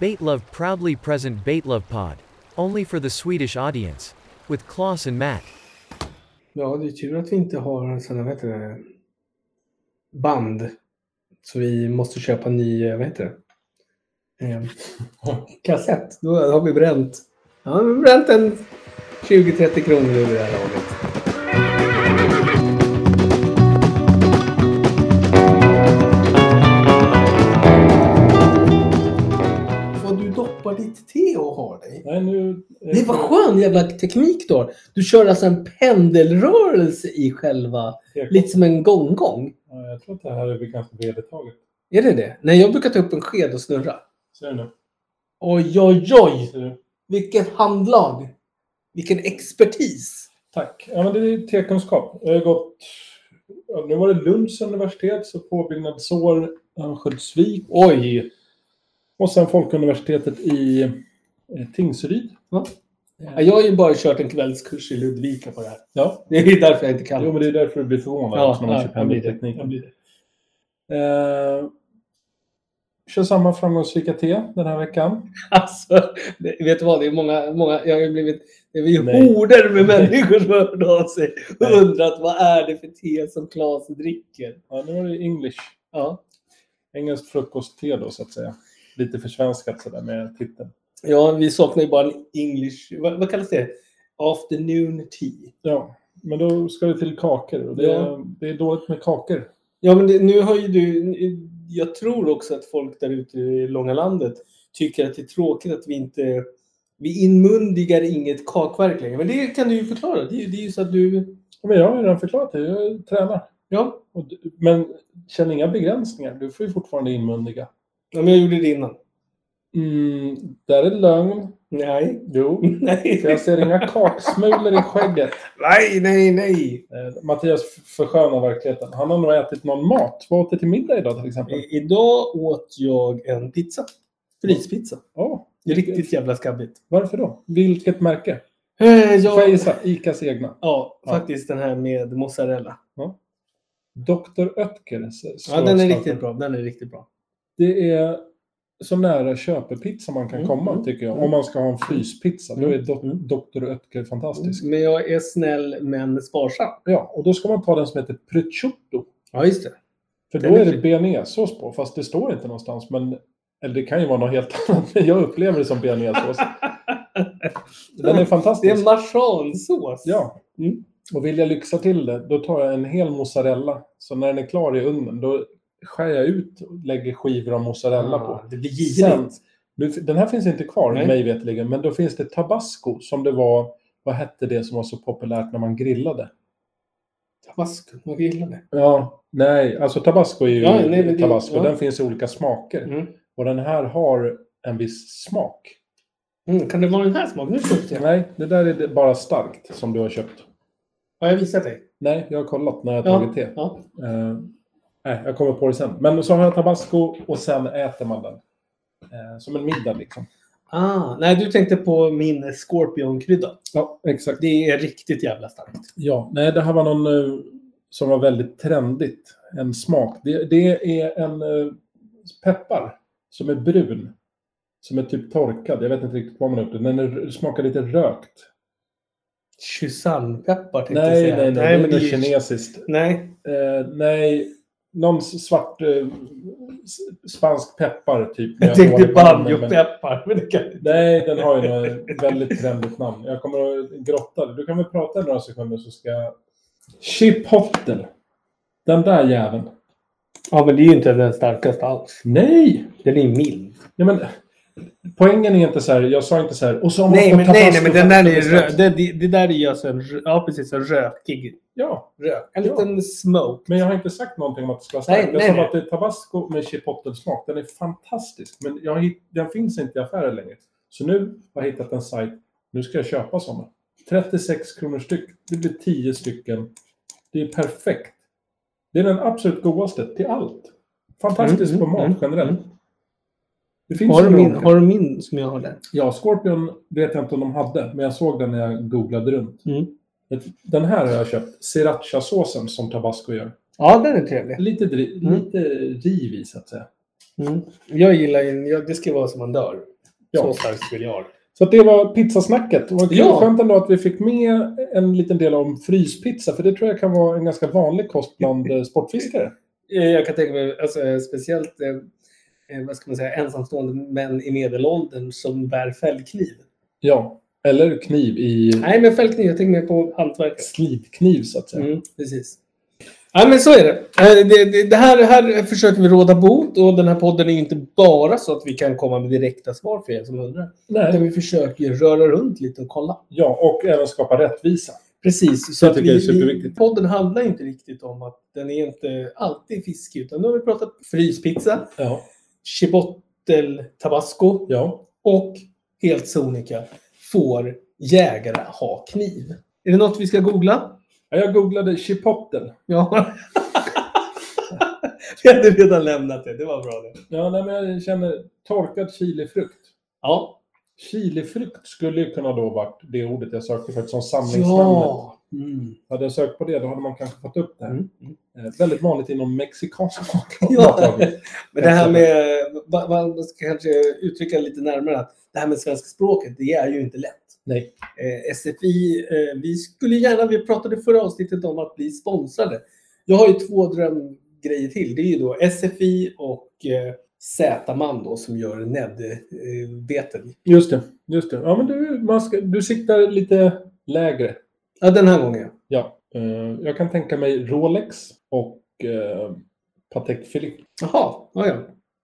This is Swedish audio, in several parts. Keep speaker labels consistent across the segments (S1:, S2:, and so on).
S1: Baitlove proudly present Baitlove Pod. Only for the Swedish audience. With Klaus and Matt.
S2: Ja, det är tur att vi inte har en sån här, vad heter det, band. Så vi måste köpa en ny, eh, vad heter det, eh, kassett. Då har vi bränt, ja, vi har bränt en 20-30 kronor ur det här laget. Vad du doppar ditt te och har dig.
S3: Nej, nu...
S2: Det var skön jävla teknik då. Du kör alltså en pendelrörelse i själva,
S3: jag,
S2: lite som en gonggong.
S3: Ja, jag tror att det här är ganska vedertaget.
S2: Är det det? Nej, jag brukar ta upp en sked och snurra.
S3: Ser du nu?
S2: Oj, oj, oj!
S3: Ser du?
S2: Vilket handlag! Vilken expertis!
S3: Tack. Ja, men det är tekunskap. Jag har gått... Ja, nu var det Lunds universitet, så påbyggnadsår Örnsköldsvik. Oj! Och sen Folkuniversitetet i eh, Tingsryd.
S2: Ja, Jag har ju bara kört en kvällskurs i Ludvika på det här.
S3: Ja.
S2: Det är därför jag inte kan.
S3: Jo, men det är därför du blir förvånad
S2: Ja,
S3: också när man
S2: ja,
S3: köper hem
S2: jag blir det.
S3: tekniken.
S2: Jag blir det.
S3: Eh, kör samma framgångsrika te den här veckan.
S2: Alltså, det- vet du vad? Det är många, många jag har ju blivit, det är ju
S3: Nej.
S2: horder med människor som har hört av sig och
S3: Nej.
S2: undrat vad är det för te som Claes dricker?
S3: Ja, nu är det English.
S2: Ja.
S3: Engelskt frukostte då, så att säga. Lite försvenskat sådär med titeln.
S2: ja, vi saknar ju bara en English... Vad, vad kallas det? Afternoon tea.
S3: Ja, men då ska det till kakor. Och det,
S2: Ja.
S3: det är dåligt med kakor.
S2: Ja, men det, nu har ju du... Jag tror också att folk där ute i långa landet tycker att det är tråkigt att vi inte... Vi inmundigar inget kakverk längre. Men det kan du ju förklara. Det är ju, det är ju så att du...
S3: Men jag har ju redan förklarat det. Jag tränar.
S2: Ja.
S3: Och du- Men känn inga begränsningar. Du får ju fortfarande inmundiga.
S2: ja, men jag gjorde det innan.
S3: Mm, där är lögn.
S2: Nej.
S3: Jo.
S2: Nej.
S3: För jag ser inga kaksmulor i skägget.
S2: Nej, nej, nej.
S3: Eh, Mattias förskönar verkligheten. Han har nog ätit någon mat. Vad åt du till middag idag till exempel?
S2: I- Idag åt jag en pizza. Fryspizza.
S3: Ja,
S2: Det är Riktigt jävla skabbigt.
S3: varför då? Vilket märke?
S2: Eh,
S3: Får jag
S2: Jag,
S3: gissa? Icas egna.
S2: ja,
S3: Ja.
S2: faktiskt den här med mozzarella.
S3: Dr. Oetker.
S2: Ja, den är riktigt bra. Den är riktigt bra.
S3: Det är så nära köpepizza man kan
S2: Mm,
S3: komma,
S2: mm,
S3: tycker jag.
S2: mm.
S3: Om man ska ha en fryspizza, då är do-
S2: Mm.
S3: Dr. Oetker fantastisk.
S2: Men jag är snäll men sparsam.
S3: Ja, och då ska man ta den som heter prosciutto.
S2: Ja, just det.
S3: För
S2: Den
S3: då
S2: är
S3: är det
S2: fin.
S3: bearnaisesås på, fast det står inte någonstans. Men, eller det kan ju vara något helt annat, men jag upplever det som bearnaisesås. Den är
S2: Det är
S3: fantastisk.
S2: marsansås.
S3: Ja.
S2: Mm.
S3: Och vill jag lyxa till det, då tar jag en hel mozzarella. Så när den är klar i ugnen, då skär jag ut och lägger skivor av mozzarella på.
S2: Ah, det blir
S3: Sen,
S2: girigt.
S3: nu, den här finns inte kvar,
S2: Nej.
S3: mig veterligen, men då finns det tabasco som det var, vad hette det som var så populärt när man grillade?
S2: Tabasco, man gillar det.
S3: Ja, nej, alltså tabasco är ju
S2: Ja, nej, men det-
S3: tabasco,
S2: ja.
S3: den finns i olika smaker.
S2: Mm.
S3: Och den här har en viss smak.
S2: Mm, kan det vara den här smaken? Nu köpte jag.
S3: Nej, det där är det- bara starkt som du har köpt.
S2: Har jag visat dig?
S3: Nej, jag har kollat när jag har
S2: Ja.
S3: tagit te.
S2: Ja.
S3: Eh, nej, jag kommer på det sen. Men så har jag tabasco och sen äter man den. Eh, som en middag liksom.
S2: Ah, nej, du tänkte på min scorpionkrydda.
S3: Ja, exakt.
S2: Det är riktigt jävla starkt.
S3: Ja, nej, det här var någon eh, som var väldigt trendigt. En smak. Det, det är en eh, peppar som är brun. Som är typ torkad. Jag vet inte riktigt vad man har gjort. Den är, smakar lite rökt.
S2: Chusanpeppar tänkte jag
S3: Nej, nej,
S2: säga.
S3: nej, Det är
S2: men
S3: något
S2: det är-
S3: kinesiskt.
S2: Nej.
S3: Eh, nej, någon svart eh, s- spansk peppar typ.
S2: Jag tänkte banjopeppar. Men det kan...
S3: Nej, den har ju något väldigt trendigt namn. Jag kommer att grotta det. Du kan väl prata i några sekunder så ska jag... Chip Hottel. Den där jäveln.
S2: Ja, men det är ju inte den starkaste alls.
S3: Nej!
S2: Den är mild.
S3: Ja, men, poängen är inte så här, jag sa inte så här, och så har man
S2: Nej,
S3: fått
S2: men, nej, nej, men
S3: tabasco
S2: den där är
S3: för att det
S2: rö-
S3: bestäms."
S2: det, det, det där är ju alltså en, rö- ja, precis, en rökig
S3: Ja,
S2: rök. En
S3: Ja.
S2: liten smoke.
S3: men jag har inte sagt någonting om att det ska vara
S2: Nej,
S3: starkt. Jag
S2: nej,
S3: sa
S2: nej.
S3: bara att det är tabasco med chipotle-smak. Den är fantastisk, men jag, har hitt- den finns inte i affärer längre. Så nu har jag hittat en sajt, nu ska jag köpa sådana. 36 kronor styck, det blir 10 stycken. Det är perfekt. Det är den absolut godaste till allt. Fantastisk
S2: Mm,
S3: på
S2: mm,
S3: mat
S2: mm,
S3: generellt.
S2: mm.
S3: Det finns
S2: Har
S3: ju
S2: du, min,
S3: några-
S2: har du min som jag har där?
S3: Ja, Scorpion vet jag inte om de hade, men jag såg den när jag googlade runt.
S2: Mm.
S3: Den här har jag köpt, srirachasåsen som tabasco gör.
S2: Ja, den är trevlig.
S3: Lite, dri-
S2: Mm.
S3: lite riv i, så att säga.
S2: Mm. Jag gillar ju, jag, det ska vara som man dör.
S3: Ja.
S2: Så starkt vill jag ha det.
S3: Så att det var pizzasnacket. Och det var
S2: Ja.
S3: skönt ändå att vi fick med en liten del om fryspizza, för det tror jag kan vara en ganska vanlig kost bland eh, sportfiskare.
S2: Eh, Jag kan tänka mig, alltså, eh, speciellt eh, eh, vad ska man säga, ensamstående män i medelåldern som bär fällkniv.
S3: Ja, eller kniv i
S2: Nej, men fällkniv, jag tänker mer på hantverket.
S3: slidkniv så att säga.
S2: Mm, precis. Ja, men så är det. Eh, Det, det, det här, här försöker vi råda bot och den här podden är ju inte bara så att vi kan komma med direkta svar för er som undrar. Utan
S3: Nej.
S2: vi försöker ju röra runt lite och kolla.
S3: Ja, och även skapa rättvisa.
S2: Precis. Så
S3: Det
S2: att
S3: tycker
S2: vi,
S3: jag är superviktigt.
S2: vi, podden handlar ju inte riktigt om att den är inte alltid fiskig. Utan nu har vi pratat fryspizza,
S3: Ja.
S2: chipotle tabasco
S3: ja.
S2: och helt sonika. Får jägare ha kniv? Är det något vi ska googla?
S3: Ja, Jag googlade chipotle.
S2: Ja. vi hade redan lämnat det. Det var bra det.
S3: Ja, nej, men jag känner torkad chilifrukt.
S2: Ja.
S3: Chilifrukt skulle ju kunna då varit det ordet jag sökte för som samlingsnamn.
S2: Ja. Mm.
S3: Hade jag sökt på det, då hade man kanske fått upp det här.
S2: Mm.
S3: Eh, väldigt vanligt inom mexikansk mat-
S2: Ja.
S3: matlagning.
S2: Men det här med, va- va- man ska kanske uttrycka lite närmare att det här med svenska språket, det är ju inte lätt.
S3: Nej.
S2: Eh, SFI, eh, vi skulle gärna, vi pratade i förra avsnittet om att bli sponsrade. Jag har ju två drömgrejer till. Det är ju då SFI och eh, Z-man då som gör NED-beten.
S3: Just det. Just det. Ja, men du, man ska, du siktar lite lägre.
S2: Ja, den här gången.
S3: Ja. Eh, jag kan tänka mig Rolex och eh, Patek Philippe.
S2: Jaha, ja, ja.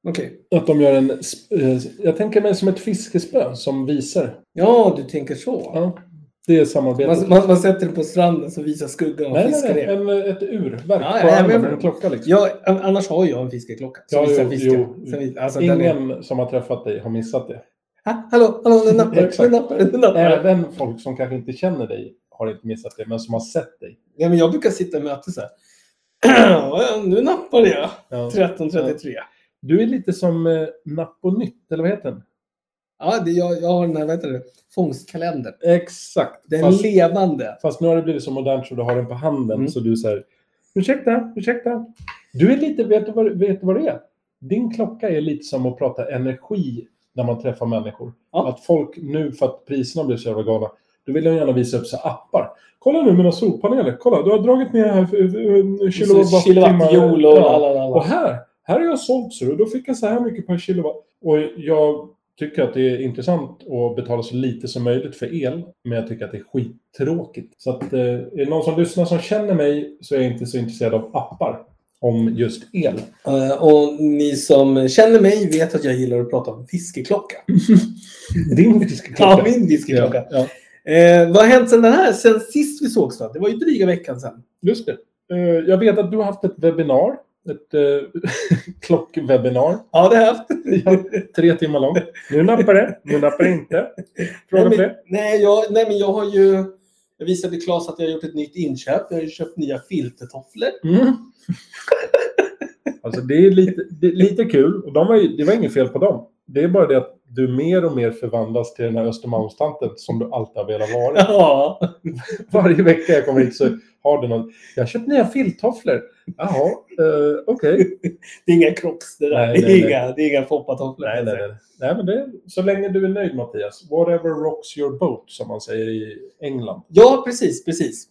S2: Okej.
S3: Att de gör en... sp- eh, jag tänker mig som ett fiskespö som visar.
S2: Ja, du tänker så.
S3: Ja, det är samarbetet.
S2: Man, man, man sätter det på stranden så visar skuggan och
S3: nej, nej,
S2: fiskar
S3: nej.
S2: det.
S3: En, ett urverk på
S2: Ja, ja,
S3: armen,
S2: men-
S3: en klocka liksom.
S2: Ja, annars har jag en fiskeklocka. Som
S3: Ja,
S2: visar
S3: jo,
S2: fisken.
S3: jo.
S2: Som vis- alltså, den är...
S3: Ingen som har träffat dig har missat det.
S2: Ha, hallå, hallå, den nappar,
S3: Exakt.
S2: den nappar, den nappar.
S3: Även folk som kanske inte känner dig har inte missat det, men som har sett dig.
S2: Nej, men jag brukar sitta i möte så här. Ja, nu nappade jag.
S3: Ja.
S2: 13.33.
S3: Du är lite som eh, Napp och Nytt, eller vad heter den?
S2: Ja, det, jag, jag har den här, vad heter det, fångstkalendern.
S3: Exakt.
S2: Den
S3: Fast,
S2: levande.
S3: fast nu har det blivit så modernt så du har den på handen,
S2: Mm.
S3: så du säger ursäkta, ursäkta. Du är lite, vet du, vad, vet du vad det är? Din klocka är lite som att prata energi när man träffar människor.
S2: Ja.
S3: Att folk nu, för att priserna blir så jävla galna, då vill de gärna visa upp så här appar. Kolla nu mina solpaneler. Kolla, du har dragit ner här för, för, eh, för, kilowattimmar.
S2: Kilowattiol och
S3: Ja.
S2: alla, alla.
S3: Och här, här har jag sålt så då fick jag så här mycket per kilowatt. Och jag tycker att det är intressant att betala så lite som möjligt för el, men jag tycker att det är skittråkigt. Så att, eh, är det någon som lyssnar som känner mig så är jag inte så intresserad av appar om just el.
S2: Eh, Och ni som känner mig vet att jag gillar att prata om fiskeklocka.
S3: Din fiskeklocka.
S2: Ja, min fiskeklocka.
S3: Ja, ja.
S2: Eh, vad har hänt sen den här, sen sist vi sågs då? Det var ju dryga veckan sen.
S3: Just det. Eh, Jag vet att du har haft ett webbinar. Ett eh, klockwebinar.
S2: Ja, det har jag haft.
S3: Ja, Tre timmar långt. Nu nappar det, nu nappar det inte. Fråga
S2: nej,
S3: på
S2: men,
S3: det?
S2: nej, jag, nej, men jag har ju... Jag visade Claes att jag har gjort ett nytt inköp. Jag har ju köpt nya filtertofflor.
S3: Mm. Alltså det är lite, det är lite kul. Och de var ju, det var inget fel på dem. Det är bara det att du mer och mer förvandlas till den här Östermalmstanten som du alltid har velat vara.
S2: Ja.
S3: Varje vecka jag kommer hit så har du någon. Jag har köpt nya filttofflor. Jaha, eh, okej.
S2: Det är inga Crocs det där. det,
S3: Nej,
S2: är
S3: nej, nej.
S2: inga, det är inga foppatofflor.
S3: Nej, nej, nej. nej men det, så länge du är nöjd Mattias. Whatever rocks your boat som man säger i England.
S2: Ja, precis. precis.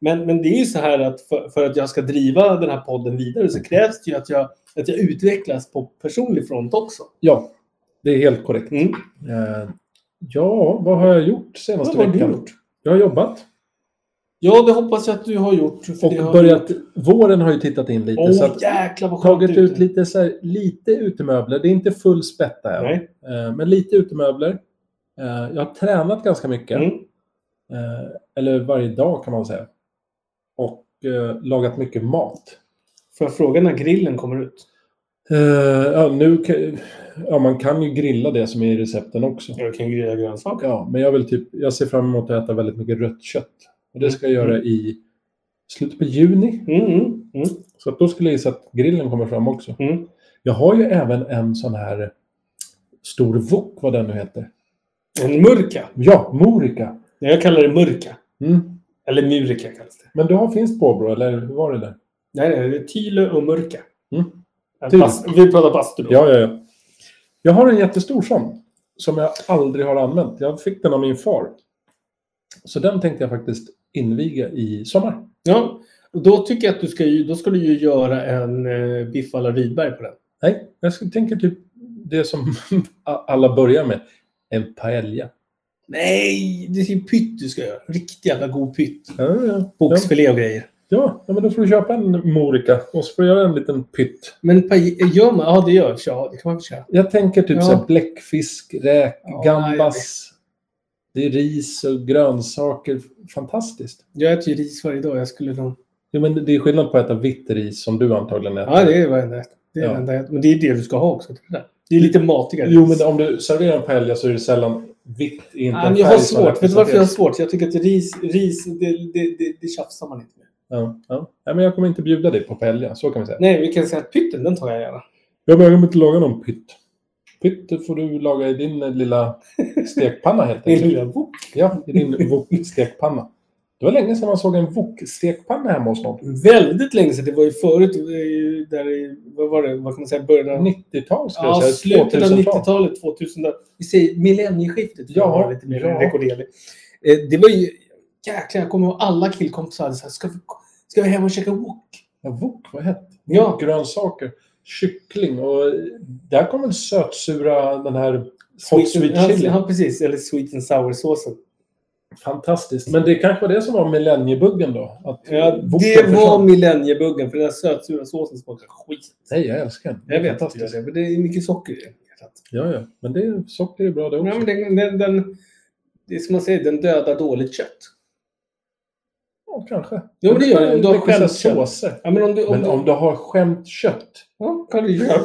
S2: Men, men det är ju så här att för, för att jag ska driva den här podden vidare så krävs det ju att jag, att jag utvecklas på personlig front också.
S3: Ja, det är helt korrekt.
S2: Mm.
S3: Eh, ja, vad har jag gjort senaste
S2: Vad har du
S3: veckan?
S2: gjort?
S3: Jag har jobbat.
S2: Ja, det hoppas jag att du har gjort. för
S3: Och
S2: det har
S3: börjat, våren har ju tittat in lite.
S2: Åh,
S3: så att,
S2: jäklar vad skönt
S3: tagit
S2: ute.
S3: ut lite, så här, lite utemöbler. Det är inte full spätta än.
S2: Nej.
S3: Eh, men lite utemöbler. Eh, jag har tränat ganska mycket.
S2: Mm.
S3: Eh, eller varje dag kan man säga. Och eh, lagat mycket mat.
S2: Får jag fråga när grillen kommer ut?
S3: Eh, ja, nu kan, ja, man kan ju grilla det som är i recepten också.
S2: Jag kan grilla grönsaker.
S3: Ja, men jag, vill typ, jag ser fram emot att äta väldigt mycket rött kött. Och det ska jag göra i slutet på juni.
S2: Mm, mm, mm.
S3: Så att då skulle jag gissa att grillen kommer fram också.
S2: Mm.
S3: Jag har ju även en sån här stor wok, vad den nu heter.
S2: En murka.
S3: Ja, morika.
S2: Jag kallar det murka.
S3: Mm.
S2: Eller murika kallas det.
S3: Men du har finns påbrå, eller hur var det där?
S2: Nej, nej, det är tyle och murka.
S3: Mm.
S2: Du.
S4: Bast, vi pratar bastu då.
S3: Ja, ja, ja. Jag har en jättestor sån som jag aldrig har använt. Jag fick den av min far. Så den tänkte jag faktiskt inviga i sommar.
S4: Ja,
S2: Och Då tycker jag att du ska, ju, då ska du ju göra en eh, biff à la Rydberg på den.
S3: Nej, jag ska- tänker typ det som a- alla börjar med. En paella.
S2: Nej, det är ju pytt du ska göra. Riktigt jävla god pytt.
S3: Ja, ja. ja.
S2: Oxfilé och grejer.
S3: Ja, ja, men då får du köpa en morika och så får du göra en liten pytt.
S2: Men paj- gör man? Ja, det gör Ja, det kan man väl köra.
S3: Jag tänker typ
S2: Ja.
S3: så här bläckfisk, räk,
S2: Ja,
S3: gambas. Det är ris och grönsaker. Fantastiskt.
S2: Jag äter ju ris varje dag. Jag skulle nog...
S3: Jo, men det är skillnad på att äta vitt ris som du antagligen äter.
S2: Ja, det är varenda äter. Det är
S3: Ja.
S2: varenda äter. Men det är det du ska ha också. tror jag. Det är lite matigare.
S3: Jo, men om du serverar en paella så är det sällan vitt är inte
S2: Ja,
S3: en
S2: men jag har
S3: färg som
S2: svårt. Vet du varför jag har
S3: representerar.
S2: svårt? Jag tycker att ris, ris det, det, det, det tjafsar man inte med.
S3: Ja, ja. Nej, men jag kommer inte bjuda dig på paella, så kan vi säga.
S2: Nej, vi kan säga att pytten, den tar jag gärna.
S3: Jag behöver inte laga någon pytt. Pytt får du laga i din eh, lilla stekpanna helt
S2: Min
S3: enkelt.
S2: lilla bok.
S3: Ja, i din wok-stekpanna. Det var länge sedan man såg en wok-stekpanna hemma hos någon.
S2: Väldigt länge sedan. Det var ju förut, det var ju där i, vad var det, vad kan man säga, början av
S3: 90-tal skulle
S2: Ja,
S3: jag säga.
S2: slutet av
S3: 2000-tal.
S2: 90-talet, 2000 Vi säger millennieskiftet.
S3: Ja,
S2: Ja, var lite mer
S3: ja.
S2: rekorderligt. Eh, Det var ju... Jäklar, jag kommer ihåg alla killkompisar hade så här, ska vi, ska vi hem och käka wok?
S3: Ja, wok, vad hett.
S2: Ja.
S3: Grönsaker, kyckling och eh, där kom väl sötsura den här hot sweet
S2: and-
S3: chili.
S2: Ja, precis. Eller sweet and sour-såsen.
S3: Fantastiskt. Men det kanske var det som var millenniebuggen då? Att
S2: Ja,
S3: woken
S2: det var
S3: försvann.
S2: millenniebuggen, för den här sötsura såsen smakar skit.
S3: Nej, jag älskar den.
S2: Jag vet att
S3: Fantastiskt.
S2: det det, men det är mycket socker i den.
S3: Ja, ja. Men det är, socker är bra det också.
S2: Ja, men den, den, den, det är som man säger, den dödar dåligt kött.
S3: Ja, kanske.
S2: Ja, men det gör den. Om du har
S3: Det är
S2: skämt
S3: vissa
S2: kött.
S3: såser.
S2: Ja, men om du... Om
S3: Men
S2: du
S3: om du har skämt kött.
S2: ja, kan du göra.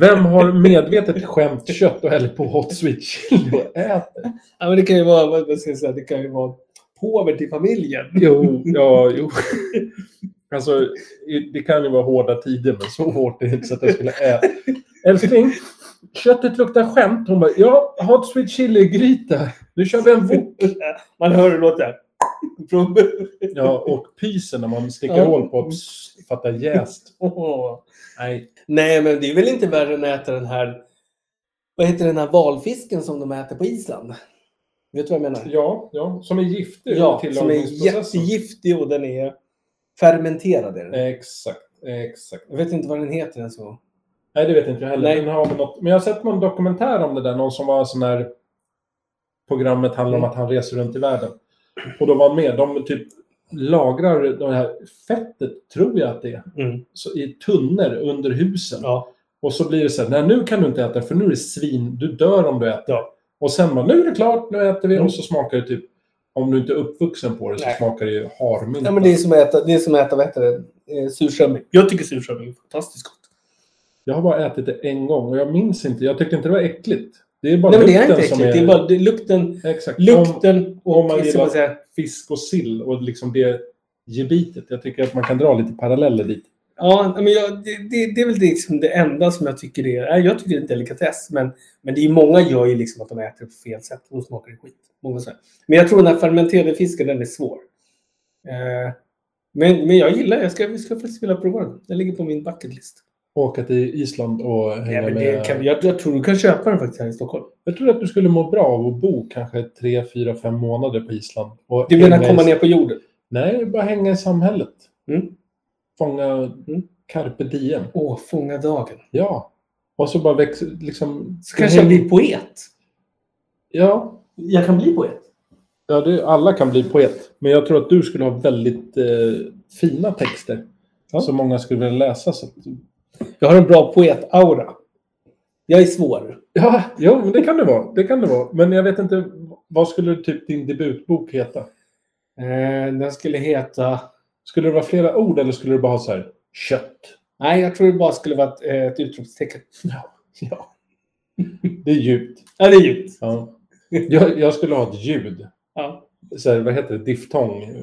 S3: Vem har medvetet skämt kött och häller på hot sweet chili och äter?
S2: Ja, men det kan ju vara, vad vad ska jag säga, det kan ju vara påver till familjen.
S3: Jo, ja, jo. Alltså, i- det kan ju vara hårda tider, men så hårt är det inte så att jag skulle äta. Älskling, köttet luktar skämt. Hon bara, ja, hot sweet chili-gryta. Nu kör vi en wok.
S2: Man hör hur det låter. Från-
S3: Ja, och pysen när man sticker
S2: Ja.
S3: hål på. Pss, Fattar jäst.
S2: Åh.
S3: Nej.
S2: Nej, men det är väl inte värre än att äta den här, vad heter den här valfisken som de äter på Island? Vet du vad jag menar?
S3: Ja, ja, som är giftig
S2: Ja,
S3: under
S2: som är
S3: tillagningsprocessen.
S2: jättegiftig och den är fermenterad. Är den.
S3: Exakt, exakt.
S2: Jag vet inte vad den heter ens. så.
S3: Nej, det vet inte jag heller.
S2: Nej.
S3: Den har väl något, men jag har sett någon dokumentär om det där. Någon som var sån här... Programmet handlar om
S2: Mm.
S3: att han reser runt i världen. Och de var med. De typ lagrar det här fettet, tror jag att det är,
S2: Mm.
S3: så, i tunnor under husen.
S2: Ja.
S3: Och så blir det så här, nej nu kan du inte äta för nu är det svin, du dör om du äter.
S2: Ja.
S3: Och sen bara, nu är det klart, nu äter vi.
S2: Mm.
S3: Och så smakar det typ, om du inte är uppvuxen på det så
S2: Nej.
S3: smakar det ju harmynta.
S2: Ja, men det är som att äta, det är som att äta vad heter det? Eh, surströmming. Jag tycker surströmming är fantastiskt gott.
S3: Jag har bara ätit det en gång och jag minns inte, jag tyckte inte det var äckligt. Det är bara
S2: Nej, men det är
S3: lukten
S2: inte äckligt.
S3: som
S2: Det
S3: är...
S2: är bara det är lukten
S3: Exakt. Om
S2: Lukten och
S3: om man
S2: som
S3: gillar-
S2: man säger,
S3: fisk och sill och liksom det gebitet. Jag tycker att man kan dra lite paralleller dit.
S2: Ja, men jag, det, det, det är väl liksom det enda som jag tycker är... nej, Jag tycker det är en delikatess, men, men det är många gör ju liksom att de äter på fel sätt och smakar det skit. Många så här. Men jag tror den här fermenterade fisken, den är svår. Eh, men, men jag gillar det. Jag ska, vi ska faktiskt vilja prova den. Den ligger på min bucket list.
S3: Åka till Island och hänga
S2: Ja, men
S3: med...
S2: det kan, jag, jag tror du kan köpa den faktiskt här i Stockholm.
S3: Jag tror att du skulle må bra av att bo kanske 3, 4, 5 månader på Island. Och
S2: Du menar
S3: hänga i-
S2: komma ner på jorden?
S3: Nej, bara hänga i samhället.
S2: Mm.
S3: Fånga carpe diem.
S2: Åh, fånga dagen.
S3: Ja. Och så bara växa, liksom...
S2: Så kanske jag blir poet.
S3: Ja.
S2: Jag kan bli poet.
S3: ja det, alla kan bli poet. Men jag tror att du skulle ha väldigt eh, fina texter.
S2: Ja.
S3: Som många skulle vilja läsa. Så att...
S2: Jag har en bra poet-aura. Jag är svår.
S3: Ja, jo, men det kan det vara. Det kan det vara. Men jag vet inte, vad skulle typ din debutbok heta?
S2: Eh, den skulle heta...
S3: Skulle det vara flera ord eller skulle du bara ha så här, kött?
S2: Nej, jag tror det bara skulle vara ett, eh, ett utropstecken.
S3: Ja. Det är djupt.
S2: Ja, det är djupt.
S3: Ja. Jag, jag skulle ha ett ljud.
S2: Ja.
S3: Så här, vad heter det? Diftong? Eller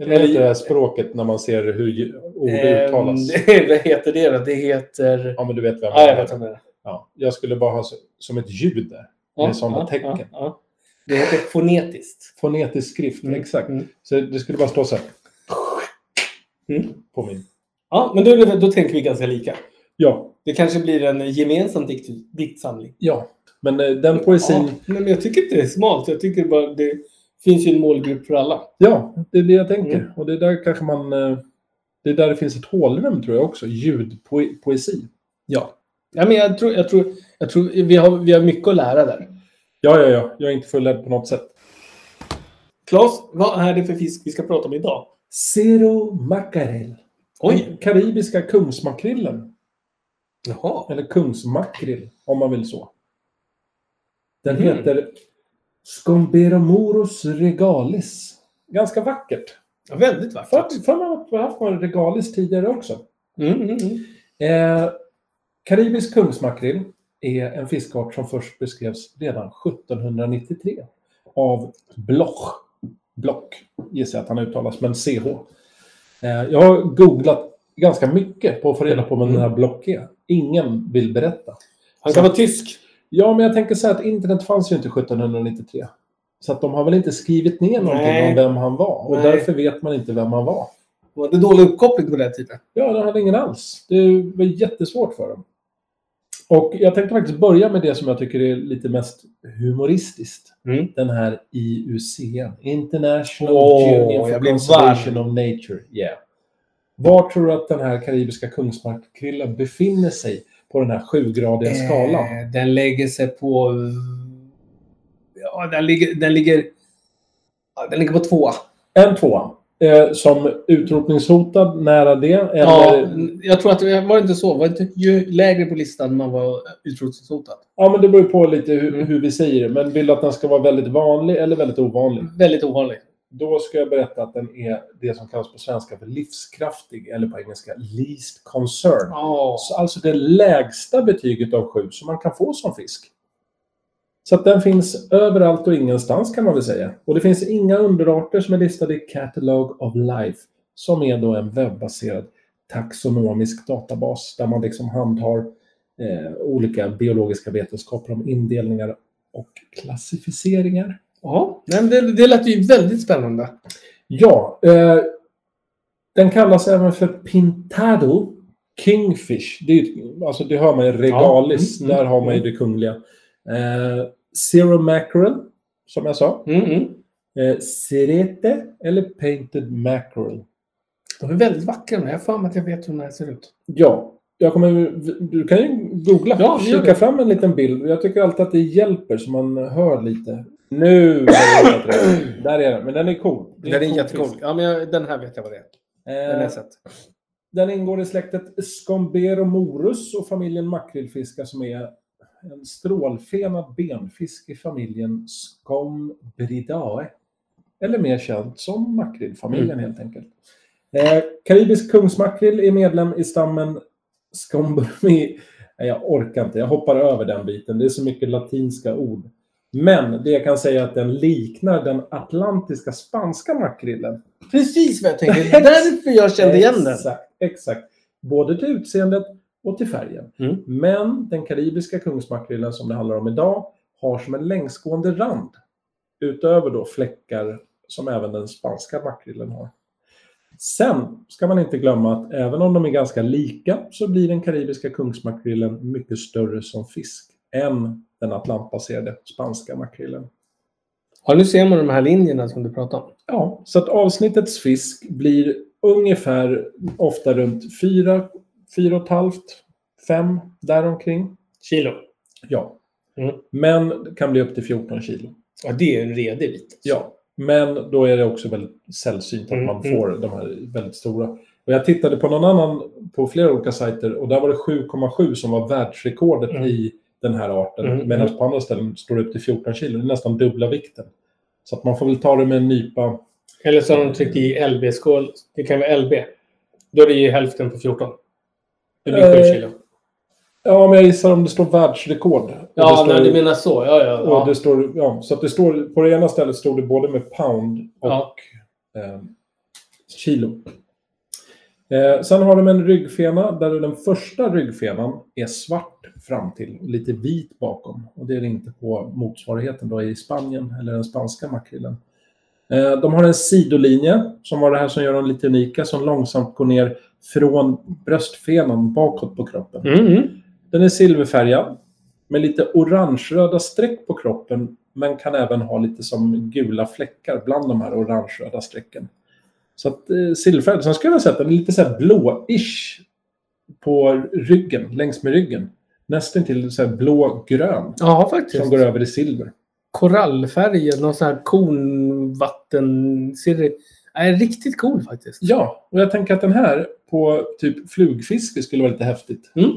S2: Eller-
S3: vad heter det här språket när man ser hur ju- ord uttalas?
S2: Eh, vad heter det då? Det heter...
S3: Ja, men du vet vem
S2: Ja, jag
S3: jag
S2: vet
S3: är.
S2: vad det är.
S3: Ja. Jag skulle bara ha så, som ett ljud där.
S2: Ja,
S3: Med sådana
S2: ja,
S3: tecken.
S2: Ja, ja. Det heter fonetiskt.
S3: Fonetisk skrift,
S2: Mm,
S3: exakt.
S2: mm.
S3: Så det skulle bara stå så här.
S2: Mm.
S3: På min.
S2: Ja, men då, då tänker vi ganska lika.
S3: Ja,
S2: Det kanske blir en gemensam dikt, diktsamling.
S3: ja. Men eh, den poesin,
S2: Ja, men jag tycker inte det är smalt. Jag tycker bara det finns ju en målgrupp för alla.
S3: ja, det är det jag tänker.
S2: Mm.
S3: Och det är där kanske man... eh, Det är där det finns ett hålrum, tror jag också. Ljudpoesi. Ja.
S2: Ja, men jag tror, jag tror, jag tror vi, har, vi har mycket att lära där.
S3: Ja, ja, ja. Jag är inte fullärd på något sätt.
S2: Claes, vad är det för fisk vi ska prata om idag?
S3: Zero makarell.
S2: Oj!
S3: Karibiska kungsmakrillen.
S2: Jaha.
S3: Eller kungsmakrill, om man vill så. Den
S2: Mm.
S3: heter Scomberomorus regalis. Ganska vackert.
S2: Ja, väldigt
S3: För,
S2: vackert.
S3: för man har haft några regalis tidigare också.
S2: Mm, mm, mm.
S3: Eh, Karibisk kungsmakrill är en fiskart som först beskrevs redan 1793 av Bloch. Block gissar jag att han uttalas, men CH. Eh, jag har googlat ganska mycket på att få reda på vem den
S2: Mm.
S3: här Bloch är. Ingen vill berätta.
S2: Han kan vara tysk.
S3: Ja, men jag tänker så här att internet fanns ju inte 1793. Så att de har väl inte skrivit ner någonting
S2: Nej.
S3: om vem han var. Och
S2: Nej.
S3: därför vet man inte vem han var.
S2: Det var dålig uppkoppling på den här tiden.
S3: Ja, de hade ingen alls. Det var jättesvårt för dem. Och jag tänkte faktiskt börja med det som jag tycker är lite mest humoristiskt.
S2: Mm.
S3: Den här IUCN, International
S2: Åh,
S3: Union
S2: jag
S3: for
S2: blir
S3: Conservation of Nature. Yeah. Var tror du att den här karibiska kungsmarkkrillen befinner sig på den här sjugradiga skalan?
S2: Eh, den lägger sig på... Ja, den ligger... Den ligger, ja, den ligger på tvåa.
S3: En tvåa. Eh, som utrotningshotad nära det. Eller,
S2: Ja,
S3: ja.
S2: jag tror att det var inte så. Var inte, ju lägre på listan man var utrotningshotad.
S3: men det beror ju på lite hur,
S2: Mm.
S3: hur vi säger det. Men vill du att den ska vara väldigt vanlig eller väldigt ovanlig?
S2: Väldigt ovanlig.
S3: Då ska jag berätta att den är det som kallas på svenska för livskraftig, eller på engelska least concern.
S2: Ja.
S3: Så Alltså det lägsta betyget av sju som man kan få som fisk. Så att den finns överallt och ingenstans kan man väl säga. Och det finns inga underarter som är listade i Catalog of Life, som är då en webbaserad taxonomisk databas där man liksom handhar eh, olika biologiska vetenskaper om indelningar och klassificeringar.
S2: Ja, men det, det lät ju väldigt spännande.
S3: Ja, eh, den kallas även för pintado kingfish. Det, är, ju- alltså det hör man ju, regalis,
S2: Ja, mm,
S3: där
S2: mm,
S3: har man ju det kungliga. Eh, zero mackerel, som jag sa.
S2: Mm, mm.
S3: Eh, serete eller painted mackerel.
S2: De är väldigt vackra. men Jag har för mig att jag vet hur den här ser ut.
S3: Ja, jag kommer, du kan ju googla.
S2: Ja, gör
S3: Kika
S2: det.
S3: fram en liten bild. Jag tycker alltid att det hjälper så man hör lite. Nu har jag hittat den. Där är den, men den är cool. Det en cool fisk.
S2: Ja, men jag, den här vet jag vad det är. Den har
S3: Eh,
S2: jag sett.
S3: Den ingår i släktet Scomberomorus och familjen makrillfiskar som är en strålfenad benfisk i familjen Scombridae. Eller mer känd som makrillfamiljen helt enkelt. Eh, Karibisk kungsmakrill är medlem i stammen Scombromi. Nej, jag orkar inte. Jag hoppar över den biten. Det är så mycket latinska ord. Men det jag kan säga är att den liknar den atlantiska spanska makrillen.
S2: Precis vad jag tänkte. Därför jag kände igen den.
S3: Exakt, exakt. Både till utseendet och till färgen.
S2: Mm.
S3: Men den karibiska kungsmakrillen som det handlar om idag har som en längsgående rand utöver då fläckar som även den spanska makrillen har. Sen ska man inte glömma att även om de är ganska lika så blir den karibiska kungsmakrillen mycket större som fisk än den atlantbaserade spanska makrillen.
S2: Ja, nu ser man de här linjerna som du pratar om.
S3: Ja, så att avsnittets fisk blir ungefär ofta runt 4, 4,5, 5 däromkring.
S2: Kilo.
S3: Ja.
S2: Mm.
S3: Men kan bli upp till 14 kilo.
S2: Ja, det är en redig bit.
S3: Ja. Men då är det också väldigt sällsynt att
S2: Mm,
S3: man får de här väldigt stora. Och jag tittade på någon annan, på flera olika sajter och där var det 7,7 som var världsrekordet
S2: Mm.
S3: i den här arten.
S2: Mm,
S3: Medan på andra ställen står det upp till 14 kilo. Det är nästan dubbla vikten. Så att man får väl ta det med en nypa
S2: Eller så har de tryckt i LB-skål. Det kan vara LB. Då är det ju hälften på 14. Det blir 7
S3: Eh,
S2: kilo.
S3: Ja, men jag gissar om det står världsrekord. Och det
S2: Ja,
S3: står,
S2: nej, du menar så. Ja, ja.
S3: och
S2: ja.
S3: det står, ja, så att det står, på det ena stället stod det både med pound och
S2: Ja.
S3: eh, kilo. Eh, sen har de en ryggfena där den första ryggfenan är svart fram till och lite vit bakom. Och det är det inte på motsvarigheten då i Spanien eller den spanska makrillen. Eh, De har en sidolinje som var det här som gör dem lite unika som långsamt går ner från bröstfenan bakåt på kroppen.
S2: Mm, mm.
S3: Den är silverfärgad med lite orangeröda streck på kroppen men kan även ha lite som gula fläckar bland de här orangeröda strecken. Så att eh, silverfärgad. Sen skulle jag säga att den är lite så här blå-ish på ryggen, längs med ryggen. Nästan till så här blå-grön
S2: Ja,
S3: som
S2: faktiskt.
S3: går över i silver.
S2: Korallfärgen, någon sån här kornvatten... Ser det... Nej, riktigt cool faktiskt.
S3: Ja, och jag tänker att den här på typ flugfiske skulle vara lite häftigt.
S2: Mm.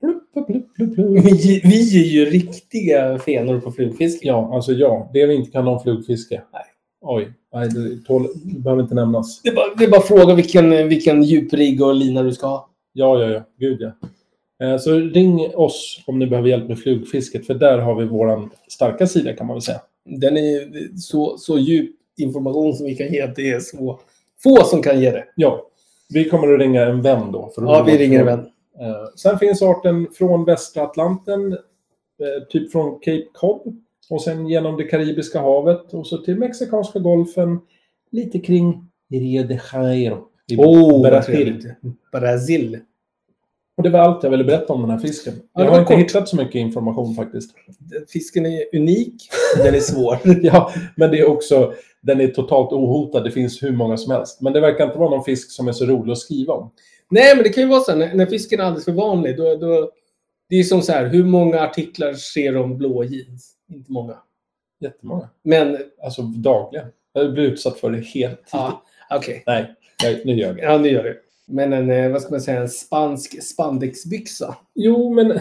S3: Plupp, plupp, plupp, plupp, plupp.
S2: Vi, vi är ju riktiga fenor på flugfiske.
S3: Ja, alltså ja. Det vi inte kan om flugfiske.
S2: Nej.
S3: Oj. Nej, det, tål, det behöver inte nämnas.
S2: Det är bara, det är bara att fråga vilken, vilken djuprigg och lina du ska ha.
S3: Ja, ja, ja. Gud, ja. Eh, Så ring oss om ni behöver hjälp med flugfisket, för där har vi vår starka sida kan man väl säga.
S2: Den är så, så djup information som vi kan ge. Det är så få som kan ge det.
S3: Ja, vi kommer att ringa en vän då. För att
S2: Ja, vi ringer en vän.
S3: Eh, Sen finns arten från västra Atlanten, eh, typ från Cape Cod, och sen genom det Karibiska havet och så till Mexikanska golfen, lite kring Rio de Janeiro. i
S2: Åh, Oh, vad
S3: Brasil.
S2: trevligt. Brasil.
S3: Och det var allt jag ville berätta om den här fisken.
S2: Ja, det
S3: Jag
S2: var
S3: har inte
S2: kort.
S3: hittat så mycket information faktiskt.
S2: Fisken är unik. Den är svår.
S3: Ja, men det är också, den är totalt ohotad. Det finns hur många som helst. Men det verkar inte vara någon fisk som är så rolig att skriva om.
S2: Nej, men det kan ju vara så här, när, när fisken är alldeles för vanlig. Då, då, det är som så här, hur många artiklar ser du om blå jeans? Inte många.
S3: Jättemånga.
S2: Men,
S3: Alltså dagligen. Jag blir utsatt för det helt tiden.
S2: ja, okej.
S3: Nej, nej, nu gör jag det.
S2: Ja, nu gör det. Men en, eh, vad ska man säga, en spansk spandexbyxa.
S3: Jo, men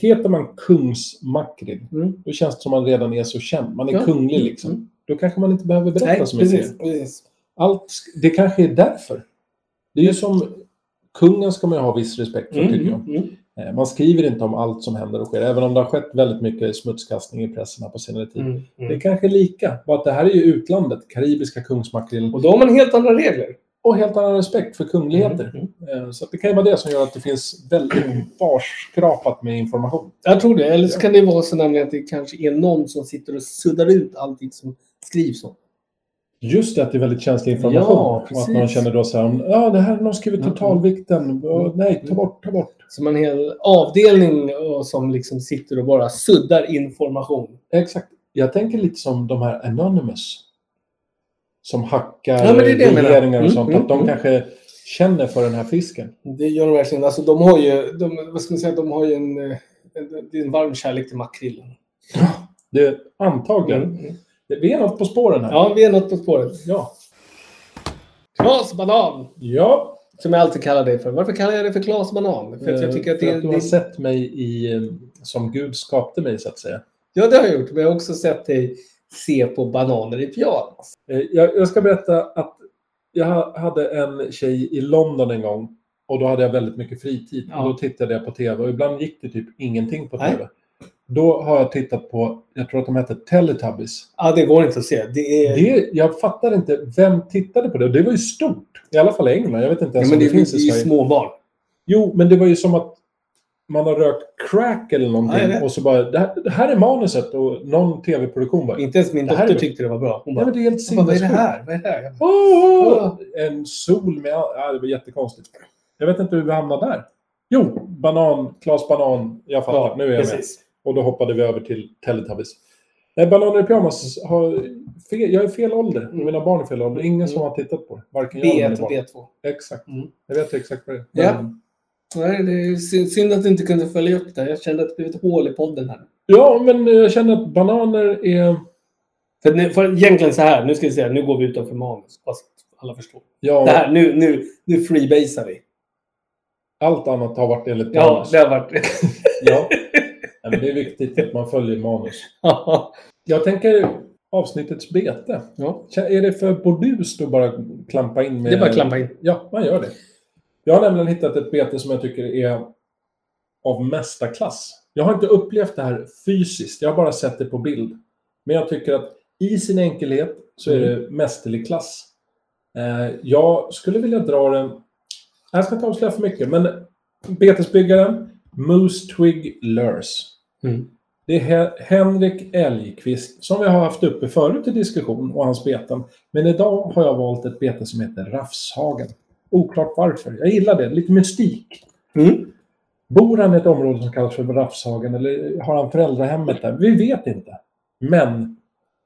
S3: heter man kungsmakrill,
S2: Mm.
S3: då känns det som man redan är så känd. Man är
S2: Ja.
S3: kunglig liksom.
S2: Mm.
S3: Då kanske man inte behöver berätta
S2: Nej,
S3: så mycket.
S2: precis. precis.
S3: Allt, sk- det kanske är därför. Det är ju som... Kungen ska man ju ha viss respekt för, tycker jag.
S2: Mm, mm.
S3: Eh, Man skriver inte om allt som händer och sker, även om det har skett väldigt mycket smutskastning i pressen här på senare tid.
S2: Mm,
S3: Det är
S2: mm.
S3: kanske är lika, bara att det här är ju utlandet, karibiska kungsmakrillen,
S2: Och då har man helt andra regler.
S3: och helt annan respekt för kungligheter.
S2: Mm, mm.
S3: Eh, Så att det kan ju vara det som gör att det finns väldigt barskrapat med information.
S2: Jag tror det. Eller så kan det vara så nämligen att det kanske är någon som sitter och suddar ut allting som skrivs om.
S3: Just det, att det är väldigt känslig information.
S2: Ja,
S3: och att
S2: precis.
S3: någon känner då så här, ja det här har någon skrivit
S2: Mm.
S3: totalvikten, och, nej, ta bort, ta bort.
S2: Så man har en hel avdelning och, som liksom sitter och bara suddar information.
S3: Exakt. Jag tänker lite som de här Anonymous. Som hackar
S2: Ja, men det är det jag menar.
S3: regeringar och
S2: Mm,
S3: sånt.
S2: mm,
S3: att de
S2: mm.
S3: kanske känner för den här fisken.
S2: Det gör de verkligen. Alltså, de har ju, de, vad ska man säga, de har ju en, eh, en, det är en varm kärlek till makrillen.
S3: Det är antagligen.
S2: Mm.
S3: Det- Vi är något på spåren här.
S2: Ja, vi är något på spåret.
S3: Ja.
S2: Klas Banan!
S3: Ja,
S2: Som jag alltid kallar dig för. Varför kallar jag dig för Klas Banan? För att jag
S3: eh,
S2: tycker att
S3: för
S2: det är...
S3: att du har
S2: det-
S3: sett mig i, eh, som Gud skapade mig så att säga.
S2: Ja, det har jag gjort. Men jag har också sett dig se på bananer i pyjamas.
S3: Eh, Jag, jag ska berätta att jag ha- hade en tjej i London en gång och då hade jag väldigt mycket fritid.
S2: Ja.
S3: Och då tittade jag på tv och ibland gick det typ ingenting på
S2: Nej.
S3: tv. Då har jag tittat på, jag tror att de hette Teletubbies.
S2: Ja, det går inte att se. Det är...
S3: Det, jag fattar inte, vem tittade på det? Det var ju stort. I alla fall i England. Jag vet inte
S2: ja,
S3: ens
S2: men
S3: om
S2: det,
S3: Alltså, det,
S2: är-
S3: finns
S2: det
S3: i
S2: är ju
S3: Sverige.
S2: småbarn.
S3: Jo, men det var ju som att man har rökt crack eller
S2: Ja,
S3: någonting
S2: jag vet.
S3: och så bara, det här, det här är manuset och någon tv-produktion bara,
S2: Inte ens min
S3: Det här
S2: dotter
S3: är-
S2: tyckte det var bra. Hon bara,
S3: nej men det är helt
S2: "Vad är det
S3: sinnessjukt.
S2: här? Vad är det här? Jag bara,
S3: Åh, åh, åh.
S2: Åh.
S3: En sol med, ja, det var jättekonstigt. Jag vet inte hur vi hamnade där. Jo, banan, Klas Banan, jag fattar, nu är jag med.
S2: Precis.
S3: Och då hoppade vi över till Teletubbies. Nej, Bananer i pyjamas har fel, jag är fel ålder.
S2: Mm.
S3: Mina barn är fel ålder. Ingen som
S2: Mm.
S3: har tittat på det. Varken jag eller
S2: B1
S3: mina
S2: och
S3: barn.
S2: B2.
S3: Exakt.
S2: Mm.
S3: Jag vet ju exakt vad det är.
S2: Ja.
S3: Men-
S2: Nej, det är sy- synd att du inte kunde följa upp det. Jag kände att det blev ett hål i podden här.
S3: ja, men jag känner att bananer är...
S2: För, nu, för egentligen så här, nu ska vi säga, nu går vi utanför manus. Hoppas att alla förstår.
S3: Ja,
S2: Det här, nu, nu, nu freebasar vi.
S3: allt annat har varit enligt
S2: Ja,
S3: manus.
S2: det har varit...
S3: Ja. Nej, men det är viktigt att man följer manus.
S2: ja.
S3: Jag tänker avsnittets bete. Kä- Är det för bordust att bara klampa in med...
S2: Det är bara att klampa in.
S3: Ja, man gör det. Jag har nämligen hittat ett bete som jag tycker är av mästarklass. Jag har inte upplevt det här fysiskt, jag har bara sett det på bild. Men jag tycker att i sin enkelhet så är det
S2: Mm.
S3: mästerlig klass. Eh, Jag skulle vilja dra den... Jag ska inte avslöja för mycket, men betesbyggaren Moose Twig Lures.
S2: Mm.
S3: Det är He- Henrik Elgqvist som vi har haft uppe förut i diskussion och hans beten. Men idag har jag valt ett bete som heter Rafshagen. Oklart varför. Jag gillar det. Lite mystik.
S2: Mm.
S3: Bor han i ett område som kallas för Rafshagen eller har han föräldrahemmet där? Vi vet inte. Men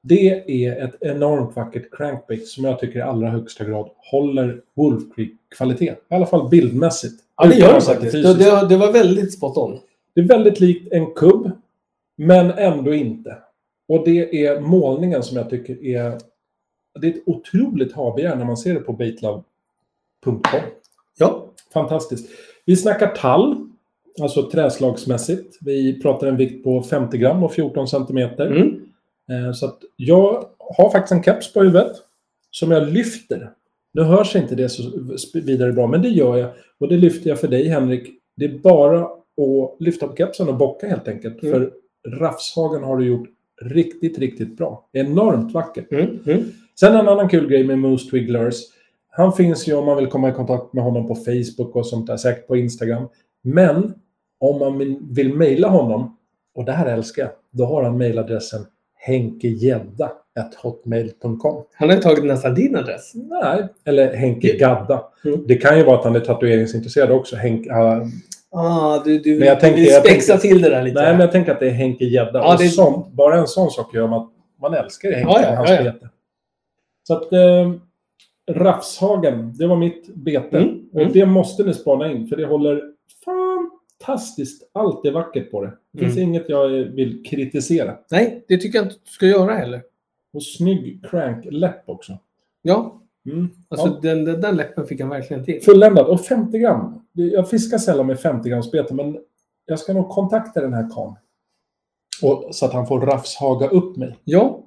S3: det är ett enormt vackert crankbait som jag tycker i allra högsta grad håller Wolf Creek-kvalitet. I alla fall bildmässigt.
S2: Ja, det gör
S3: Utan
S2: det
S3: att
S2: faktiskt.
S3: är
S2: Det,
S3: fysiskt.
S2: det, det var väldigt spot on.
S3: Det är väldigt likt en kubb, men ändå inte. Och det är målningen som jag tycker är... Det är ett otroligt havbegär när man ser det på baitlove.com.
S2: Ja.
S3: Fantastiskt. Vi snackar tall, alltså träslagsmässigt. Vi pratar en vikt på 50 gram och 14 centimeter.
S2: Mm.
S3: Eh, Så att jag har faktiskt en keps på huvudet som jag lyfter. Nu hörs inte det så sp- vidare bra, men det gör jag. Och det lyfter jag för dig, Henrik. Det är bara att lyfta på kepsen och bocka helt enkelt.
S2: Mm.
S3: För Rafshagen har du gjort riktigt, riktigt bra. Enormt vackert.
S2: Mm. Mm.
S3: Sen en annan kul grej med Moose Twigglers. Han finns ju om man vill komma i kontakt med honom på Facebook och sånt där, säkert på Instagram. Men om man vill- vill mejla honom, och det här älskar jag, då har han mejladressen henkegedda.hotmail.com.
S2: Han har ju tagit nästan din adress.
S3: Nej, eller Henke Gadda.
S2: Mm.
S3: Det kan ju vara att han är tatueringsintresserad också. Henk, ah,
S2: Ah, du, du,
S3: Men jag tänkte-
S2: du vill
S3: jag
S2: spexa
S3: tänkte-
S2: till det där lite.
S3: nej, men jag tänker att det är Henke Gedda.
S2: Ja,
S3: och
S2: det-
S3: sånt, bara en sån sak gör man, man älskar Henke
S2: Ja, ja,
S3: och hans
S2: ja, ja.
S3: bete. Så att eh, Rafshagen, det var mitt bete.
S2: Mm, mm.
S3: Och det måste ni spana in, för det håller fantastiskt. Allt är vackert på det. Det finns inget jag vill kritisera.
S2: Nej, det tycker jag inte du ska göra heller.
S3: Och snygg crank-läpp också.
S2: Ja,
S3: Mm.
S2: alltså
S3: Ja.
S2: Den, den där läppen fick han verkligen till.
S3: Fulländad. Och 50 gram. Jag fiskar sällan med 50 grams bete, men jag ska nog kontakta den här karln. Och- Så att han får rafshaga upp mig.
S2: Ja,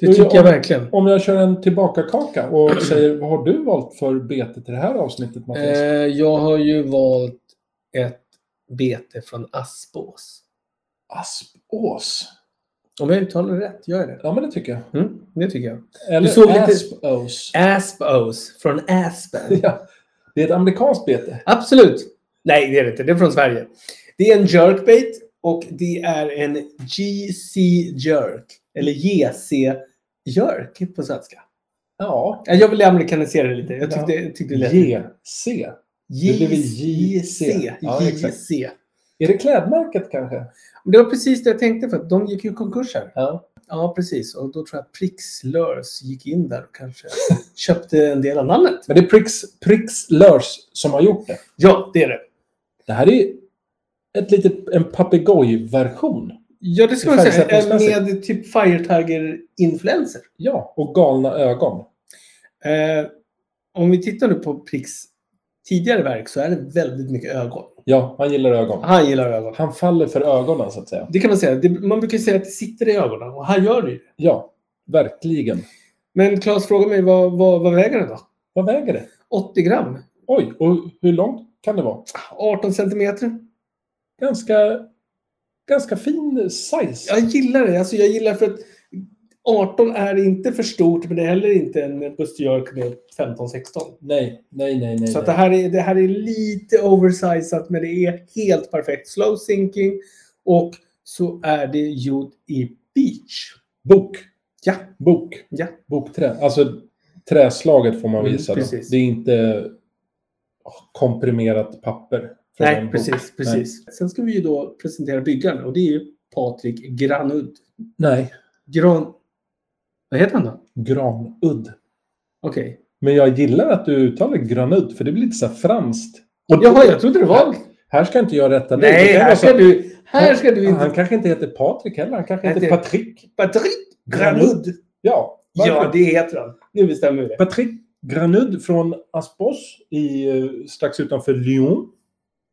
S2: det
S3: Nu,
S2: tycker jag
S3: om-
S2: verkligen.
S3: Om jag kör en tillbaka-kaka och säger vad har du valt för bete till det här avsnittet Mattias?
S2: Eh, jag har ju valt ett bete från Aspås.
S3: Aspås.
S2: Om jag uttalar det rätt, gör jag det?
S3: Ja men det tycker jag.
S2: Mm, det tycker jag.
S3: Eller
S2: såg lite-
S3: Aspås.
S2: Aspås, från Aspen.
S3: Ja. Det är ett amerikanskt bete.
S2: Absolut. Nej, det är det inte. Det är från Sverige. Det är en jerkbait och det är en GC jerk. Eller JC jerk på svenska.
S3: Ja.
S2: Ja, Jag ville amerikanisera det lite. Jag tyckte, jag tyckte det lät...
S3: JC. det blev
S2: JC.
S3: JC. Ja, exakt.
S2: JC.
S3: Är det klädmärket kanske?
S2: Men Det var precis det jag tänkte för att de gick ju i konkurs här.
S3: Ja.
S2: Ja, precis. Och då tror jag att Prixlörs gick in där och kanske köpte en del av namnet.
S3: Men det är Prix, Prix Lurs som har gjort det.
S2: Ja, det är det.
S3: Det här är ett litet, en papegojversion.
S2: Ja, det ska man säga.
S3: Färgsättningsmässigt.
S2: Med typ Firetiger-influencer.
S3: Ja, och galna ögon.
S2: Eh, om vi tittar nu på Pricks tidigare verk så är det väldigt mycket ögon.
S3: Ja, han gillar ögon.
S2: Han gillar ögon.
S3: Han faller för ögonen så att säga.
S2: Det kan man säga. Det, man brukar ju säga att det sitter i ögonen och här gör det ju det.
S3: Ja, verkligen.
S2: Men Claes frågar mig vad, vad, vad väger den då?
S3: Vad väger det?
S2: 80 gram.
S3: Oj, och hur långt kan det vara?
S2: 18 centimeter.
S3: Ganska, ganska fin size.
S2: Jag gillar det. Alltså jag gillar för att 18 är inte för stort men det är heller inte en busterjörk med 15-16.
S3: Nej, nej, nej, nej.
S2: Så att det,
S3: nej.
S2: här är, det här är lite oversizat men det är helt perfekt. Slow sinking och så är det gjort i beach.
S3: Bok.
S2: Ja.
S3: Bok.
S2: Ja.
S3: Bokträ. Alltså träslaget får man
S2: Mm,
S3: visa. då.
S2: precis.
S3: Det är inte åh, komprimerat papper. från en
S2: Nej,
S3: bok.
S2: precis. precis. Sen ska vi ju då presentera byggaren och det är ju Patrik Granudd.
S3: Nej,
S2: Gran... Vad heter han då?
S3: granudd.
S2: Okej.
S3: Men jag gillar att du uttalar granudd, för det blir lite så här franskt.
S2: Jaha, jag trodde det var...
S3: Här ska inte jag rätta dig. Det
S2: Nej,
S3: kan
S2: här
S3: vara
S2: ska
S3: så-
S2: du... Här ska du
S3: Han
S2: inte...
S3: kanske inte heter Patrik heller. Han kanske
S2: Nej,
S3: heter
S2: det-
S3: Patrik.
S2: Patrik Granudd.
S3: Ja,
S2: Ja,
S3: varför?
S2: det heter han. Nu bestämmer vi det.
S3: Patrik Granudd från Aspos i, eh, strax utanför Lyon.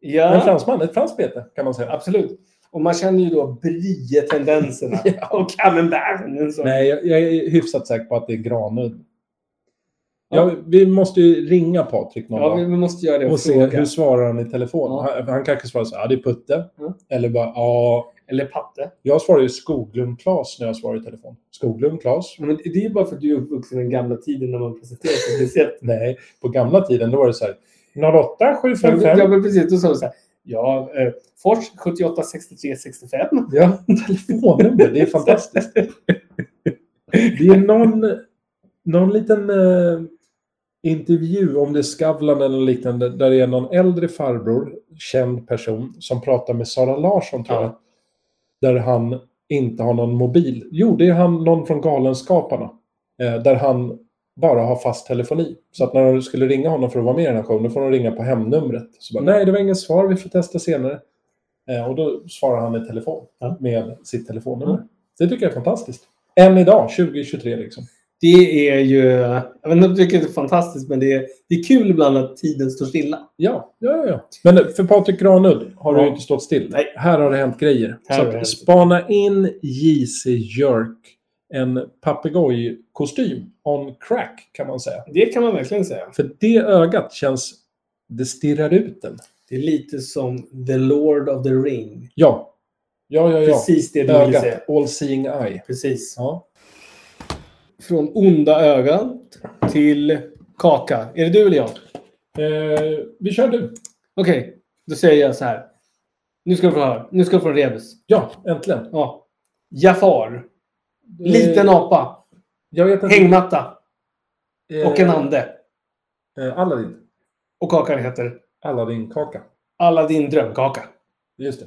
S3: En
S2: Ja,
S3: fransman, ett franskt bete kan man säga.
S2: absolut. Och man känner ju då Brie-tendenserna. Och camemberten. och så.
S3: Nej, jag, jag är hyfsat säker på att det är Granudd.
S2: Ja.
S3: Ja, vi måste ju ringa Patrik någon
S2: Ja,
S3: dag
S2: vi vi måste göra det
S3: och se hur svarar han i telefon.
S2: Ja.
S3: Han, han kanske svarar så här, ja det är Putte.
S2: Mm.
S3: Eller bara, ja.
S2: Eller Patte.
S3: Jag svarar ju Skoglund Klas när jag svarar i telefon. Skoglund Klas?
S2: Men det är ju bara för att du är uppvuxen i den gamla tiden när man presenterar sig speciellt.
S3: Nej, på gamla tiden då var det så här, 08
S2: Ja, men-
S3: 755.
S2: Ja, men precis. Då sa du så här. Ja, eh, Fors 78 63 65.
S3: Ja, telefonnummer. Det är fantastiskt. Det är någon, någon liten eh, intervju, om det är Skavlan eller liknande, där det är någon äldre farbror, känd person, som pratar med Sara Larsson, tror
S2: Ja.
S3: jag. Där han inte har någon mobil. Jo, det är han, någon från Galenskaparna. Eh, där han bara har fast telefoni. Så att när de skulle ringa honom för att vara med i den här showen, då får de ringa på hemnumret. Så bara, nej, det var ingen svar, vi får testa senare. Eh, och då svarar han i telefon,
S2: Ja.
S3: med sitt telefonnummer.
S2: Mm.
S3: Det tycker jag är fantastiskt. Än idag, 2023 liksom.
S2: Det är ju, jag vet inte om du tycker det är fantastiskt, men det är, det är kul ibland att tiden står stilla.
S3: Ja, ja, ja, ja. Men för Patrik Granudd har
S2: Ja.
S3: du ju inte stått still.
S2: Nej.
S3: Här har det hänt grejer.
S2: Här har det
S3: Så att
S2: hänt.
S3: spana in JC Jerk. En papegojkostym on crack kan man säga.
S2: Det kan man verkligen säga.
S3: För det ögat känns... Det stirrar ut den.
S2: Det är lite som The Lord of the Ring.
S3: Ja. Ja, ja, ja.
S2: Precis det du ville säga.
S3: Ögat. All seeing eye.
S2: Precis.
S3: Ja.
S2: Från onda ögon till kaka. Är det du eller jag?
S3: Eh, vi kör du.
S2: Okej, då säger jag så här. Nu ska du få höra. Nu ska du få en rebus.
S3: Ja, äntligen.
S2: Ja. Jafar. Liten
S3: Eh,
S2: apa.
S3: Jag vet inte.
S2: Hängmatta. Och en
S3: Eh,
S2: ande.
S3: eh, Aladdin.
S2: Och kakan heter
S3: Aladdin-kaka.
S2: Aladdin drömkaka.
S3: Just det.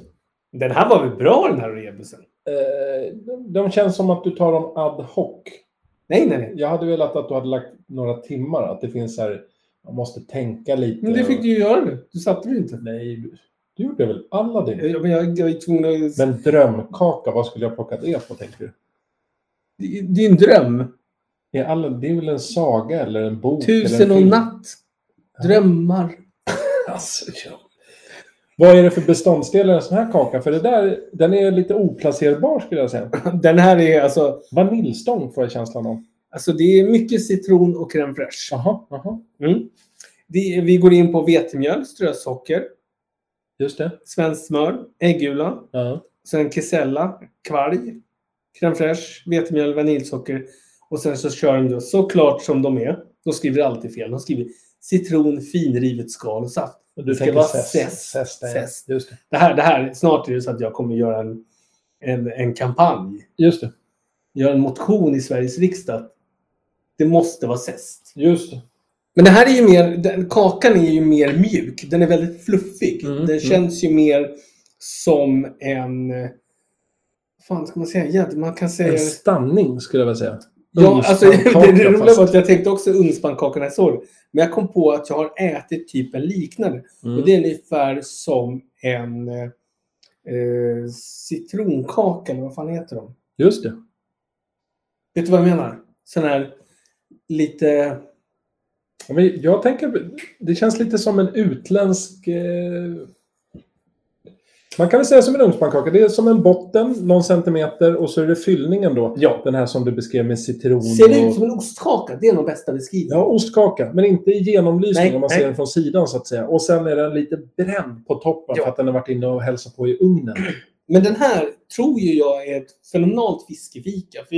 S2: Den här var väl bra den här rebusen?
S3: Eh, de- de känns som att du tar dem ad hoc.
S2: Nej, nej, nej.
S3: Jag hade velat att du hade lagt några timmar. Att det finns så här, man måste tänka lite.
S2: Men det fick du ju göra nu. Du satte det inte. Eh,
S3: Nej, du gjorde väl Aladdin?
S2: Jag, men jag, jag är tvungen att...
S3: Men drömkaka, vad skulle jag plockat det på tänker du?
S2: det, det är en dröm.
S3: Är Aladdin, det är väl en saga eller en bok? eller
S2: Tusen
S3: en
S2: och
S3: film?
S2: natt. Drömmar.
S3: Alltså, ja. Vad är det för beståndsdelar i en sån här kaka? För det där, den är lite oplacerbar skulle jag säga.
S2: Den här är alltså...
S3: Vaniljstång får jag känslan av.
S2: Alltså det är mycket citron och crème fraîche.
S3: Jaha, jaha.
S2: Mm. Det, vi går in på vetemjöl, strösocker,
S3: Just det.
S2: svenskt smör, äggula,
S3: Ja.
S2: sen kesella, kvarg, crème fraîche, vetemjöl, vaniljsocker och sen så kör de då såklart som de är. De skriver alltid fel. De skriver citron, finrivet skal och saft.
S3: Du
S2: Det ska
S3: tänker
S2: vara
S3: zest.
S2: zest.
S3: Zest, ja.
S2: Zest.
S3: Just det.
S2: Det här, det här, snart är det så att jag kommer göra en, en, en kampanj.
S3: Just det.
S2: Göra en motion i Sveriges riksdag. Det måste vara zest.
S3: Just det.
S2: Men det här är ju mer, den, kakan är ju mer mjuk. Den är väldigt fluffig.
S3: Mm,
S2: Den
S3: mm.
S2: känns ju mer som en... eh, Fan, ska man säga? Ja, man kan säga...
S3: En stanning skulle jag vilja säga.
S2: ja, alltså, det
S3: Ugnspannkaka,
S2: det roliga var
S3: fast-
S2: att jag tänkte också ugnspannkaka när jag såg det. Men jag kom på att jag har ätit typ en liknande.
S3: Mm.
S2: Och det är ungefär som en eh, eh, citronkaka, eller vad fan heter de?
S3: Just det.
S2: Vet du vad jag menar? Sån här lite...
S3: Ja, Men jag tänker, det känns lite som en utländsk... Eh... Man kan väl säga som en ugnspannkaka. Det är som en botten, någon centimeter, och så är det fyllningen då.
S2: Ja.
S3: Den här som du beskrev med citron.
S2: Ser det
S3: och...
S2: ut som en ostkaka? Det är nog bästa beskrivningen.
S3: Ja, ostkaka. Men inte i genomlysning
S2: Nej,
S3: om man
S2: nej.
S3: ser den från sidan så att säga. Och sen är den lite bränd på toppen
S2: Ja.
S3: för att den har varit inne och hälsat på i ugnen.
S2: Men den här tror ju jag är ett fenomenalt fiskefika. För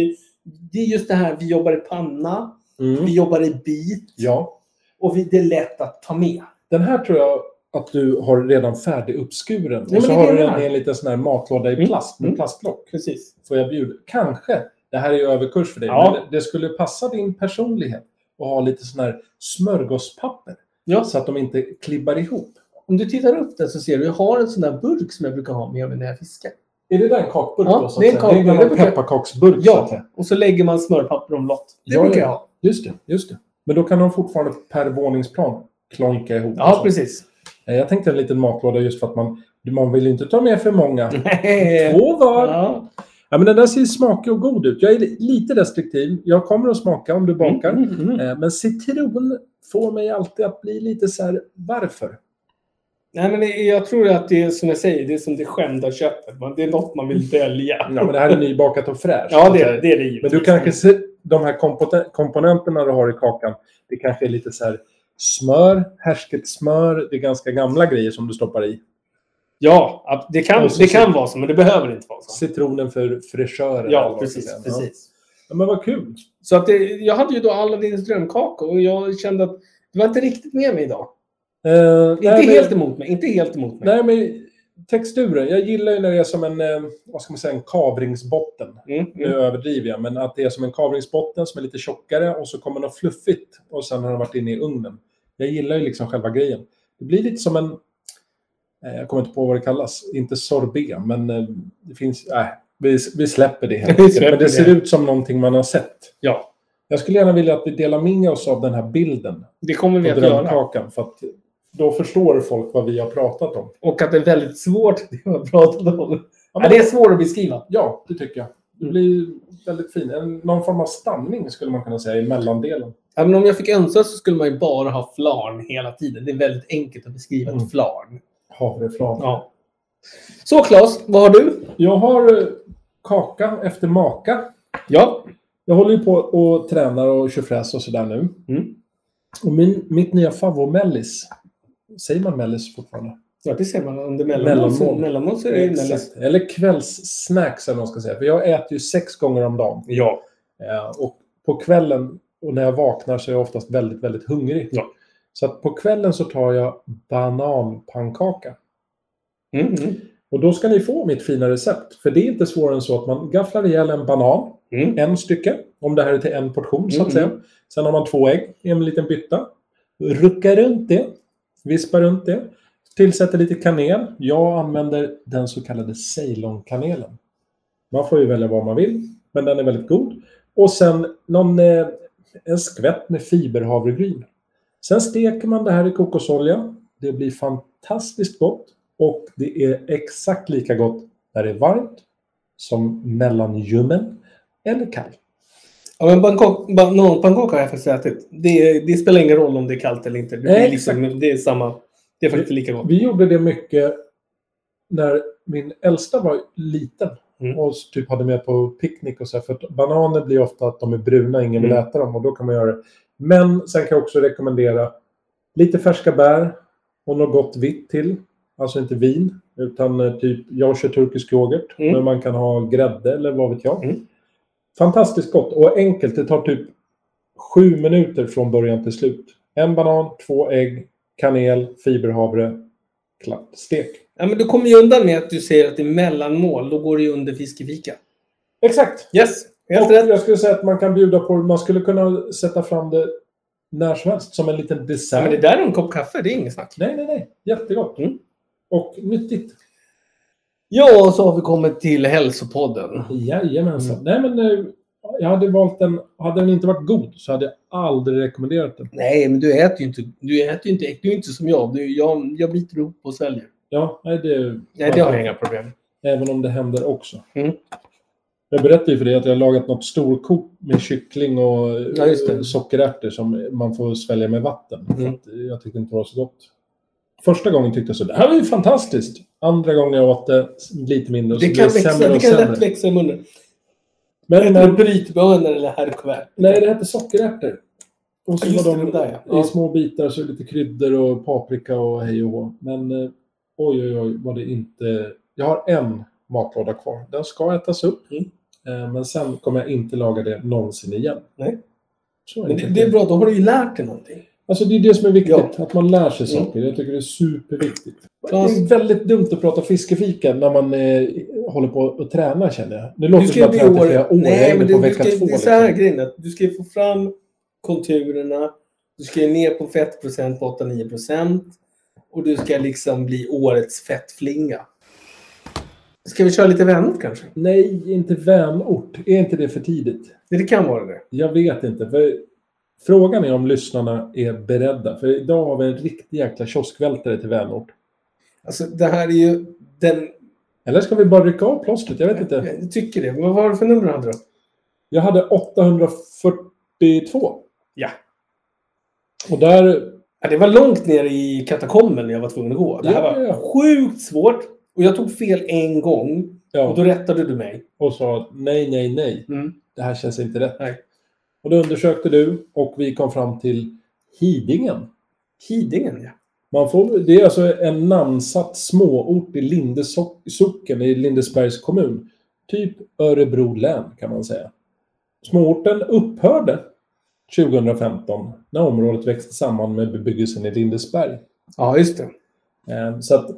S2: det är just det här, vi jobbar i panna, vi jobbar i bit
S3: Mm. Ja.
S2: och vi, det är lätt att ta med.
S3: Den här tror jag att du har redan färdig uppskuren.
S2: men
S3: och så
S2: det är
S3: har
S2: det
S3: du
S2: jag
S3: den i
S2: menar.
S3: en liten sån här matlåda i
S2: Mm.
S3: plast med
S2: Mm.
S3: plastlock.
S2: Precis.
S3: Får jag bjuda? Kanske. Det här är ju överkurs för dig.
S2: Ja.
S3: Men det- det skulle passa din personlighet att ha lite sån här smörgåspapper.
S2: Ja.
S3: Så att de inte klibbar ihop.
S2: Om du tittar upp där så ser du, jag har en sån där burk som jag brukar ha med mig när jag fiskar.
S3: Är det där en kakburk?
S2: Ja,
S3: då, så att
S2: det är en
S3: säga? det är
S2: kakburk.
S3: en gammal pepparkaksburk. så att säga.
S2: Ja, och så lägger man smörpapper omlott. Det
S3: Ja,
S2: brukar
S3: ja.
S2: jag ha.
S3: Just det, just det. Men då kan de fortfarande per våningsplan klonka ihop. och
S2: Ja,
S3: så.
S2: precis.
S3: Eh, Jag tänkte en liten matlåda just för att man, man vill ju inte ta med för många. Två var. Ja.
S2: Mm. Ja.
S3: men den där ser smakig och god ut. Jag är li- lite restriktiv. Jag kommer att smaka om du bakar.
S2: Mm, mm, mm.
S3: Eh, Men citron får mig alltid att bli lite så här, varför?
S2: Nej, men det- jag tror att det är som jag säger, det är som det skämda köttet. Man- Det är något man vill dölja.
S3: Ja, men det här är nybakat och fräscht.
S2: Ja, det är det. det, är det
S3: Men
S2: givetvis.
S3: du kanske ser, de här kompoten- komponenterna du har i kakan, det kanske är lite så här smör, härsket smör, det är ganska gamla grejer som du stoppar i.
S2: Ja, ab- det kan,
S3: Och så-
S2: det kan vara så, men det behöver inte vara så.
S3: Citronen för fräschören. eller
S2: Ja,
S3: vad det
S2: precis.
S3: heter. Ja.
S2: precis.
S3: Ja, men vad kul.
S2: Så att det, jag hade ju då Aladdins drömkaka och jag kände att det var inte riktigt med mig idag.
S3: Eh,
S2: Inte
S3: nej, men-
S2: helt emot mig. Inte helt emot mig.
S3: Nej, men texturen. Jag gillar ju när det är som en, eh, vad ska man säga, en kavringsbotten.
S2: Mm,
S3: Nu
S2: mm.
S3: överdriver jag, men att det är som en kavringsbotten som är lite tjockare och så kommer något fluffigt och sen har den varit inne i ugnen. Jag gillar ju liksom själva grejen. Det blir lite som en, eh, jag kommer inte på vad det kallas, inte sorbet, men eh, det finns, nej, vi, vi släpper det helt
S2: Vi
S3: enkelt.
S2: släpper
S3: Men det
S2: det.
S3: ser ut som någonting man har sett.
S2: Ja,
S3: Jag skulle gärna vilja att vi delar med oss av den här bilden
S2: det kommer vi
S3: på
S2: att göra.
S3: drömkakan, för att då förstår folk vad vi har pratat om.
S2: Och att det är väldigt svårt, det har pratat om.
S3: Ja,
S2: Ja,
S3: men-
S2: det är svårt att beskriva.
S3: Ja, det tycker jag. Det
S2: Mm.
S3: blir väldigt fin. En, någon form av stamning skulle man kunna säga i mellandelen.
S2: Även om jag fick önska så skulle man ju bara ha flarn hela tiden. Det är väldigt enkelt att beskriva
S3: Mm.
S2: ett flarn.
S3: Havreflarn.
S2: Ja. Så Claes, vad har du?
S3: Jag har eh, kaka efter maka.
S2: Ja.
S3: Jag håller ju på och tränar och kör fräs och sådär nu.
S2: Mm.
S3: Och min, mitt nya favoritmellis. Säger man mellis fortfarande?
S2: ja, det ser man. Om det är mellanmål, så-
S3: Mellanmål.
S2: mellanmål så är det ju mellis.
S3: Exakt. Eller kvällssnacks eller vad man ska säga. För jag äter ju sex gånger om dagen.
S2: Ja.
S3: Eh, Och på kvällen och när jag vaknar så är jag oftast väldigt, väldigt hungrig.
S2: Ja.
S3: Så att på kvällen så tar jag bananpannkaka.
S2: Mm, mm,
S3: Och då ska ni få mitt fina recept. För det är inte svårare än så att man gafflar ihjäl en banan,
S2: mm.
S3: en stycke, om det här är till en portion så att
S2: Mm.
S3: säga. Mm-hmm. Sen har man två ägg i en liten bytta. Ruckar runt det, vispar runt det. Tillsätter lite kanel. Jag använder den så kallade Ceylonkanelen. Man får ju välja vad man vill, men den är väldigt god. Och sen någon, eh, en skvätt med fiberhavregryn. Sen steker man det här i kokosolja. Det blir fantastiskt gott. Och det är exakt lika gott när det är varmt som mellanljummen eller kall.
S2: Ja, men bangkok- bananpannkaka har jag faktiskt ätit. Det, det spelar ingen roll om det är kallt eller inte. Det,
S3: Nej,
S2: är, liksom, det är samma. Det är faktiskt lika gott.
S3: Vi gjorde det mycket när min äldsta var liten
S2: Mm.
S3: och typ hade med på picknick och så här, för att bananer blir ofta att de är bruna, ingen vill
S2: Mm.
S3: äta dem och då kan man göra det. Men sen kan jag också rekommendera lite färska bär och något gott vitt till. Alltså inte vin, utan eh, typ, jag kör turkisk yoghurt,
S2: Mm.
S3: men man kan ha grädde eller vad vet jag.
S2: Mm.
S3: Fantastiskt gott och enkelt. Det tar typ sju minuter från början till slut. En banan, två ägg, kanel, fiberhavre, klart. Stek.
S2: Ja, men du kommer ju undan med att du säger att det är mellanmål. Då går det ju under fiskefika.
S3: Exakt!
S2: Yes, helt
S3: Och
S2: rätt.
S3: jag skulle säga att man kan bjuda på Man skulle kunna sätta fram det när som helst som en liten
S2: Ja,
S3: dessert.
S2: men det där är en kopp kaffe, det är inget snack.
S3: Nej, nej, nej. Jättegott.
S2: Mm.
S3: Och nyttigt.
S2: Ja, och så har vi kommit till hälsopodden.
S3: Jajamensan.
S2: Mm.
S3: Nej, men eh, jag hade valt den. Hade den inte varit god så hade jag aldrig rekommenderat den.
S2: Nej, men du äter ju inte. Du äter ju inte. Du är inte som jag. Du, jag, jag biter ihop och sväljer.
S3: Ja, nej, det,
S2: Nej, det har jag inga problem
S3: Även om det händer också.
S2: Mm.
S3: Jag berättade ju för dig att jag har lagat något storkok med kyckling och
S2: Ja, just det.
S3: eh, sockerärtor som man får svälja med vatten. För
S2: Mm.
S3: att Jag tyckte inte det var så gott. Första gången tyckte jag så det här var ju fantastiskt. Andra gången jag åt det lite mindre och så
S2: Det
S3: blev
S2: kan,
S3: det
S2: växa,
S3: sämre
S2: det
S3: och
S2: kan lätt
S3: sämre.
S2: växa i munnen.
S3: Men
S2: Eller
S3: när,
S2: brytbönor eller herrkuvert.
S3: nej, det hette sockerärtor. Och
S2: Ja, just
S3: så var
S2: det,
S3: de
S2: de där, ja.
S3: i små bitar så lite kryddor och paprika och hej och hå. Men eh, oj, oj, oj var det inte. Jag har en matlåda kvar. Den ska ätas upp.
S2: Mm.
S3: Eh, Men sen kommer jag inte laga det någonsin igen.
S2: Nej.
S3: Så
S2: Men det, det är bra, då har du ju lärt dig någonting.
S3: Alltså det är det som är viktigt, att man lär sig
S2: Mm.
S3: saker. Jag tycker det är superviktigt.
S2: Claes-
S3: Det är väldigt dumt att prata fiskefika när man eh, håller på och tränar känner jag. Nu låter
S2: Du
S3: det
S2: ska
S3: som
S2: ju
S3: att jag
S2: bli
S3: har tränat i
S2: år...
S3: flera år. jag är
S2: Nej, men
S3: inne
S2: du,
S3: på
S2: du
S3: vecka
S2: ska,
S3: två.
S2: det är så här
S3: liksom.
S2: grejen. Att du ska ju få fram konturerna. Du ska ju ner på fettprocent på 8-9 Och du ska liksom bli årets fettflinga. Ska vi köra lite vänort kanske?
S3: Nej, inte vänort. Är inte det för tidigt?
S2: Det, det kan vara det.
S3: Jag vet inte. För frågan är om lyssnarna är beredda. För idag har vi en riktig jäkla kioskvältare till vänort.
S2: Alltså det här är ju den...
S3: Eller ska vi bara rycka av plåstret? Jag vet inte.
S2: Jag tycker det. Men vad var det för nummer hade du?
S3: Jag hade 842.
S2: Ja.
S3: Och där...
S2: Ja, det var långt ner i katakomben jag var tvungen att gå. Det här
S3: Ja, ja, ja.
S2: var sjukt svårt. Och jag tog fel en gång.
S3: Ja,
S2: Och då rättade du mig.
S3: och sa nej, nej, nej.
S2: Mm.
S3: Det här känns inte rätt.
S2: Nej.
S3: Och då undersökte du och vi kom fram till Hidingen.
S2: Hidingen, ja.
S3: Man får, det är alltså en namnsatt småort i Lindesocken i Lindesbergs kommun. Typ Örebro län kan man säga. Småorten upphörde 2015 när området växte samman med bebyggelsen i Lindesberg.
S5: Ja, just det.
S3: Eh, Så att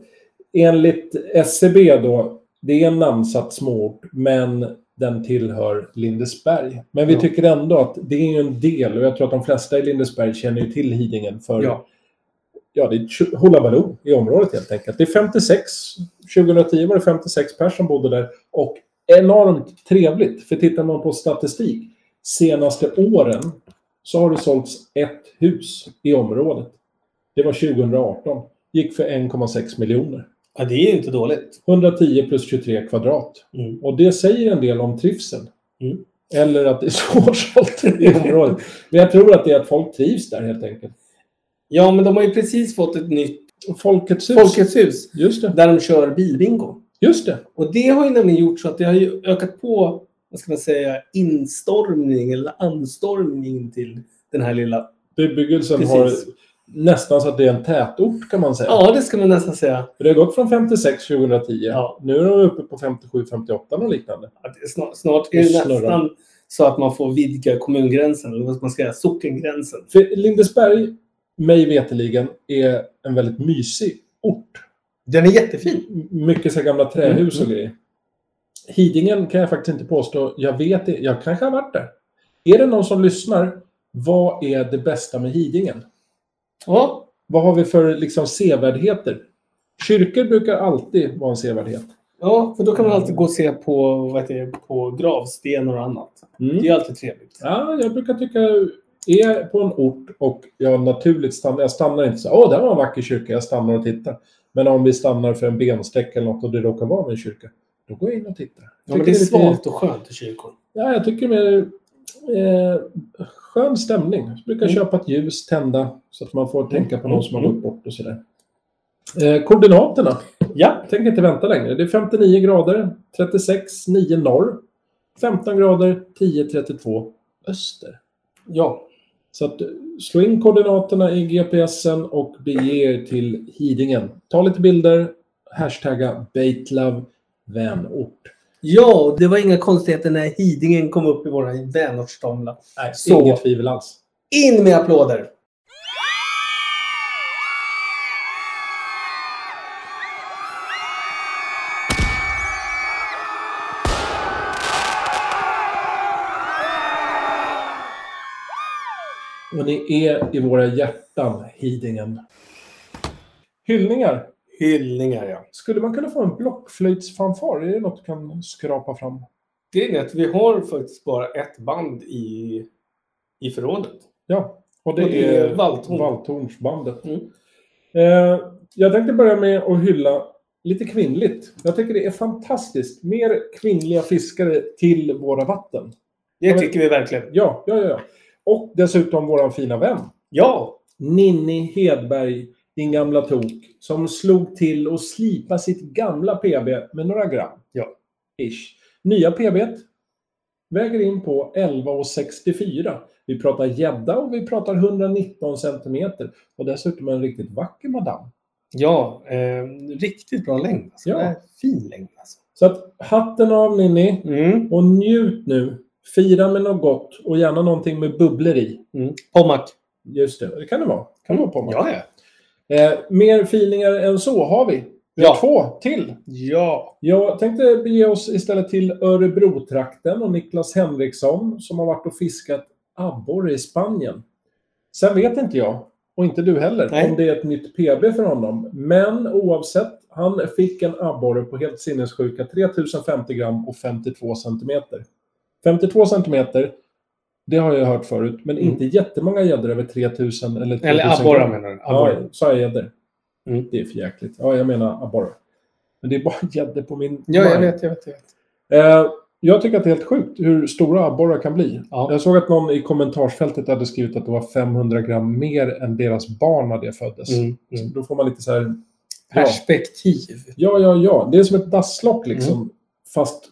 S3: enligt SCB då, det är en namnsatt småort, men den tillhör Lindesberg. Men vi
S5: Ja.
S3: tycker ändå att det är ju en del, och jag tror att de flesta i Lindesberg känner ju till Hidingen för
S5: Ja.
S3: ja, det är tjo- hullabaloo i området helt enkelt. Det är 56, 2010 var det 56 personer som bodde där och enormt trevligt. För tittar man på statistik, senaste åren så har det sålts ett hus i området. Det var 2018. Gick för 1,6 miljoner.
S2: Ja, det är ju inte dåligt.
S3: 110 plus 23 kvadrat.
S2: Mm.
S3: Och det säger en del om trivseln.
S2: Mm.
S3: Eller att det är svårsålt i området. Men jag tror att det är att folk trivs där helt enkelt.
S2: Ja, men de har ju precis fått ett nytt
S3: Och Folkets hus.
S2: Folkets hus
S3: Just det.
S2: där de kör bilbingo.
S3: Just det.
S2: Och det har ju nämligen gjort så att det har ju ökat på, vad ska man säga, instormning eller anstormning till den här lilla...
S3: Bebyggelsen
S2: Precis.
S3: har nästan så att det är en tätort kan man säga.
S2: Ja, det ska man nästan säga.
S3: För Det har gått från 56 2010.
S2: Ja.
S3: Nu är de uppe på 57, 58 och liknande.
S2: Att det är snart, snart är
S3: Det
S2: det
S3: snurrar.
S2: nästan så att man får vidga kommungränsen, eller vad ska man säga, sockengränsen.
S3: För Lindesberg, mig veteligen, är en väldigt mysig ort.
S2: Den är jättefin.
S3: M- Mycket så här gamla trähus
S2: Mm.
S3: och grejer. Hidingen kan jag faktiskt inte påstå. Jag vet det. Jag kanske har varit där. Är det någon som lyssnar? Vad är det bästa med Hidingen?
S2: Ja,
S3: Vad har vi för liksom, sevärdheter? Kyrkor brukar alltid vara en sevärdhet.
S2: ja, för då kan man alltid gå och se på, vad heter det, på gravstenar och annat.
S3: Mm.
S2: Det är alltid trevligt.
S3: Ja, jag brukar tycka, är jag på en ort och jag naturligt stannar, jag stannar inte så åh, där var en vacker kyrka, jag stannar och tittar. Men om vi stannar för en bensträck eller något och det råkar vara en kyrka, då går jag in och tittar.
S2: Ja, men
S3: Tycker
S2: det är
S3: lite-
S2: svalt och skönt i kyrkor.
S3: Ja, jag tycker mer eh, skön stämning. Jag brukar
S2: Mm.
S3: köpa ett ljus, tända, så att man får tänka på någon som har
S2: Mm.
S3: gått bort och sådär. Eh, koordinaterna.
S2: Ja,
S3: Tänk inte vänta längre. Det är 59 grader, 36, 9 norr. 15 grader, 10, 32 öster.
S2: ja.
S3: Så att eh, slå in koordinaterna i GPSen och bege er till Hidingen. Ta lite bilder, hashtagga Baitlove vänort.
S2: Ja, och det var inga konstigheter när Hidingen kom upp i vår vänortstavla.
S3: Nej,
S2: Så.
S3: inget tvivel alls.
S2: In med applåder!
S3: Och ni är i våra hjärtan, Hidingen. Hyllningar.
S2: Hyllningar, ja.
S3: Skulle man kunna få en blockflöjtsfanfar? Är det något du kan skrapa fram?
S2: Grejen är att vi har faktiskt bara ett band i, i förrådet.
S3: Ja, och det,
S2: Och det
S3: är,
S2: är Valthorn.
S3: Valthornsbandet.
S2: Mm.
S3: Eh, jag tänkte börja med att hylla lite kvinnligt. Jag tycker det är fantastiskt. Mer kvinnliga fiskare till våra vatten.
S2: Det tycker vi verkligen.
S3: Ja, ja, ja, ja. Och dessutom våran fina vän.
S2: Ja!
S3: Ninni Hedberg, din gamla tok, som slog till och slipade sitt gamla PB med några gram.
S2: Ja.
S3: Ish. Nya PB t väger in på 11,64. Vi pratar gädda och vi pratar 119 centimeter. Och dessutom en riktigt vacker madam.
S2: Ja, eh, riktigt bra längd. Alltså.
S3: Ja.
S2: Det är Fin längd. Alltså.
S3: Så att hatten av Ninni
S2: Mm.
S3: och njut nu. Fira med något gott och gärna någonting med bubblor i.
S2: Mm. Pommac.
S3: Just det, det kan det vara. Kan det vara på
S2: Ja, ja.
S3: eh, Mer finingar än så har vi. Vi har
S2: Ja.
S3: två till.
S2: Ja.
S3: Jag tänkte bege oss istället till Örebrotrakten och Niklas Henriksson som har varit och fiskat abborre i Spanien. Sen vet inte jag, och inte du heller,
S2: Nej.
S3: om det är ett nytt PB för honom. Men oavsett, han fick en abborre på helt sinnessjuka 3050 gram och 52 centimeter. 52 centimeter, det har jag hört förut, men
S2: Mm.
S3: inte jättemånga gäddor över 3000 eller 3000
S2: Eller abborre menar du? Abborre.
S3: Ja, sa jag gäddor?
S2: Mm.
S3: Det är för jäkligt. Ja, jag menar abborre. Men det är bara gäddor på min
S2: Ja, jag
S3: mind.
S2: vet, jag vet. Jag vet.
S3: Eh, jag tycker att det är helt sjukt hur stora abborrar kan bli.
S2: Ja.
S3: Jag såg att någon i kommentarsfältet hade skrivit att det var 500 gram mer än deras barn när det föddes.
S2: Mm.
S3: Så
S2: Mm.
S3: då får man lite så här... Ja,
S2: Perspektiv.
S3: ja, ja. ja. Det är som ett dasslock liksom. Fast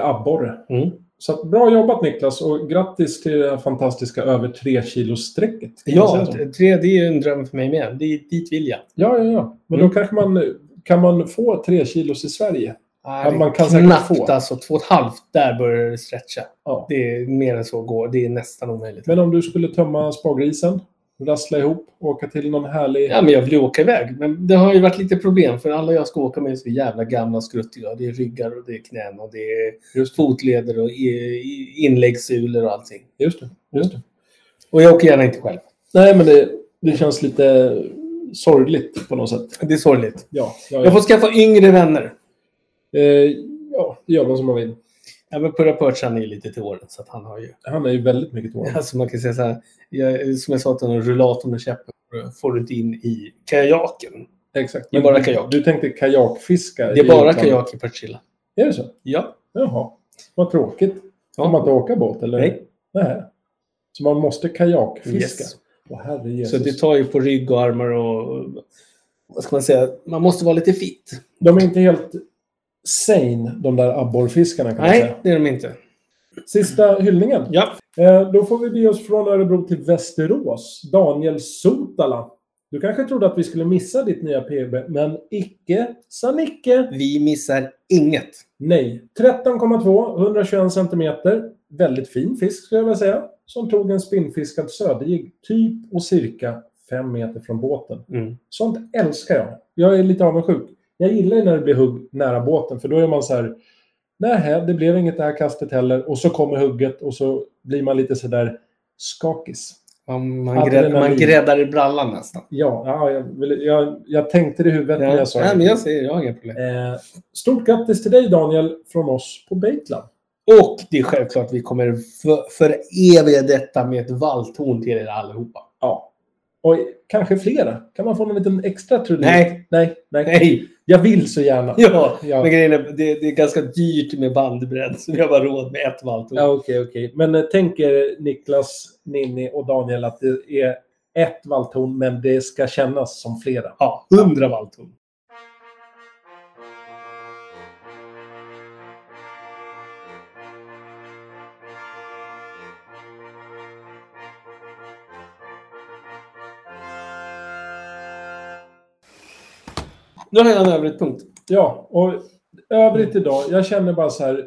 S3: abborre.
S2: Mm.
S3: Så att, bra jobbat Niklas och grattis till det här fantastiska över 3 kilos strecket
S2: Ja, tre, det är ju en dröm för mig med. Det är dit vill jag.
S3: Ja, ja, ja. Men
S2: Mm.
S3: då kanske man... Kan man få 3 kilos i Sverige?
S2: Ja,
S3: man kan säkert
S2: knappt
S3: få.
S2: alltså. Två och ett halvt, där börjar det stretcha.
S3: Ja.
S2: Det är mer än så går. Det är nästan omöjligt.
S3: Men om du skulle tömma spargrisen? rassla ihop, åka till någon härlig...
S2: Ja, men jag vill ju åka iväg. Men det har ju varit lite problem för alla jag ska åka med är så jävla gamla och skruttiga. Det är ryggar och det är knän och det är
S3: Just det,
S2: fotleder och i- i- inläggssulor och allting.
S3: just det. Just det.
S2: Och jag åker gärna inte själv.
S3: Nej, men det, det känns lite sorgligt på något sätt.
S2: Det är sorgligt.
S3: Ja, ja,
S2: Jag får skaffa yngre vänner.
S3: eh, ja det gör man som man vill.
S2: Ja, men Purra Perch han är ju lite till åren så att han har ju...
S3: Han är ju väldigt mycket till åren.
S2: Alltså man kan säga så här, jag, som jag sa till honom, rullatorn och käppen får du inte in i kajaken.
S3: Exakt.
S2: Det är bara kajak.
S3: Du tänkte kajakfiska?
S2: Det är
S3: i
S2: bara
S3: utlandet.
S2: kajak i Partille.
S3: Är det så?
S2: Ja.
S3: Jaha. Vad tråkigt. Får man inte åka båt? Eller?
S2: Nej.
S3: Nej. Så man måste kajakfiska?
S2: Yes.
S3: Åh, herre
S2: Så
S3: Jesus.
S2: det tar ju på rygg och armar och... Vad ska man säga? Man måste vara lite fit.
S3: De är inte helt sane, de där abborrfiskarna kan man
S2: Nej,
S3: säga.
S2: det är de inte.
S3: Sista hyllningen.
S2: Ja.
S3: Eh, då får vi bege oss från Örebro till Västerås. Daniel Sotala. Du kanske trodde att vi skulle missa ditt nya PB, men icke sa Nicke.
S2: Vi missar inget.
S3: Nej. 13,2, 121 centimeter. Väldigt fin fisk skulle jag vilja säga. Som tog en spinnfiskad söderjigg, typ och cirka 5 meter från båten.
S2: Mm.
S3: Sånt älskar jag. Jag är lite avundsjuk. Jag gillar ju när det blir hugg nära båten, för då är man så här... Nej, det blev inget det här kastet heller. Och så kommer hugget och så blir man lite så där skakis.
S2: Man, man,
S3: Adrenalin.
S2: grädd, man gräddar i brallan nästan.
S3: Ja, ja jag, vill- jag, jag tänkte det i huvudet när jag sa
S2: Nej,
S3: det.
S2: men jag säger, jag har inga problem.
S3: Eh, stort grattis till dig, Daniel, från oss på Baitland.
S2: Och det är självklart, vi kommer för, föreviga detta med ett valthorn till er allihopa.
S3: Ja. Och kanske flera. Kan man få någon liten extra trudelutt?
S2: Nej.
S3: nej, nej.
S2: Nej!
S3: Jag vill så gärna.
S2: Ja,
S3: Ja.
S2: men grejen är, det, det är ganska dyrt med bandbredd så vi har bara råd med ett valthorn.
S3: Ja, okej, okej. Men eh, tänk er Niklas, Ninni och Daniel att det är ett valthorn, men det ska kännas som flera.
S2: Ja, hundra valthorn. Nu har jag en övrigt punkt.
S3: Ja, och
S2: Mm.
S3: övrigt idag, jag känner bara så här,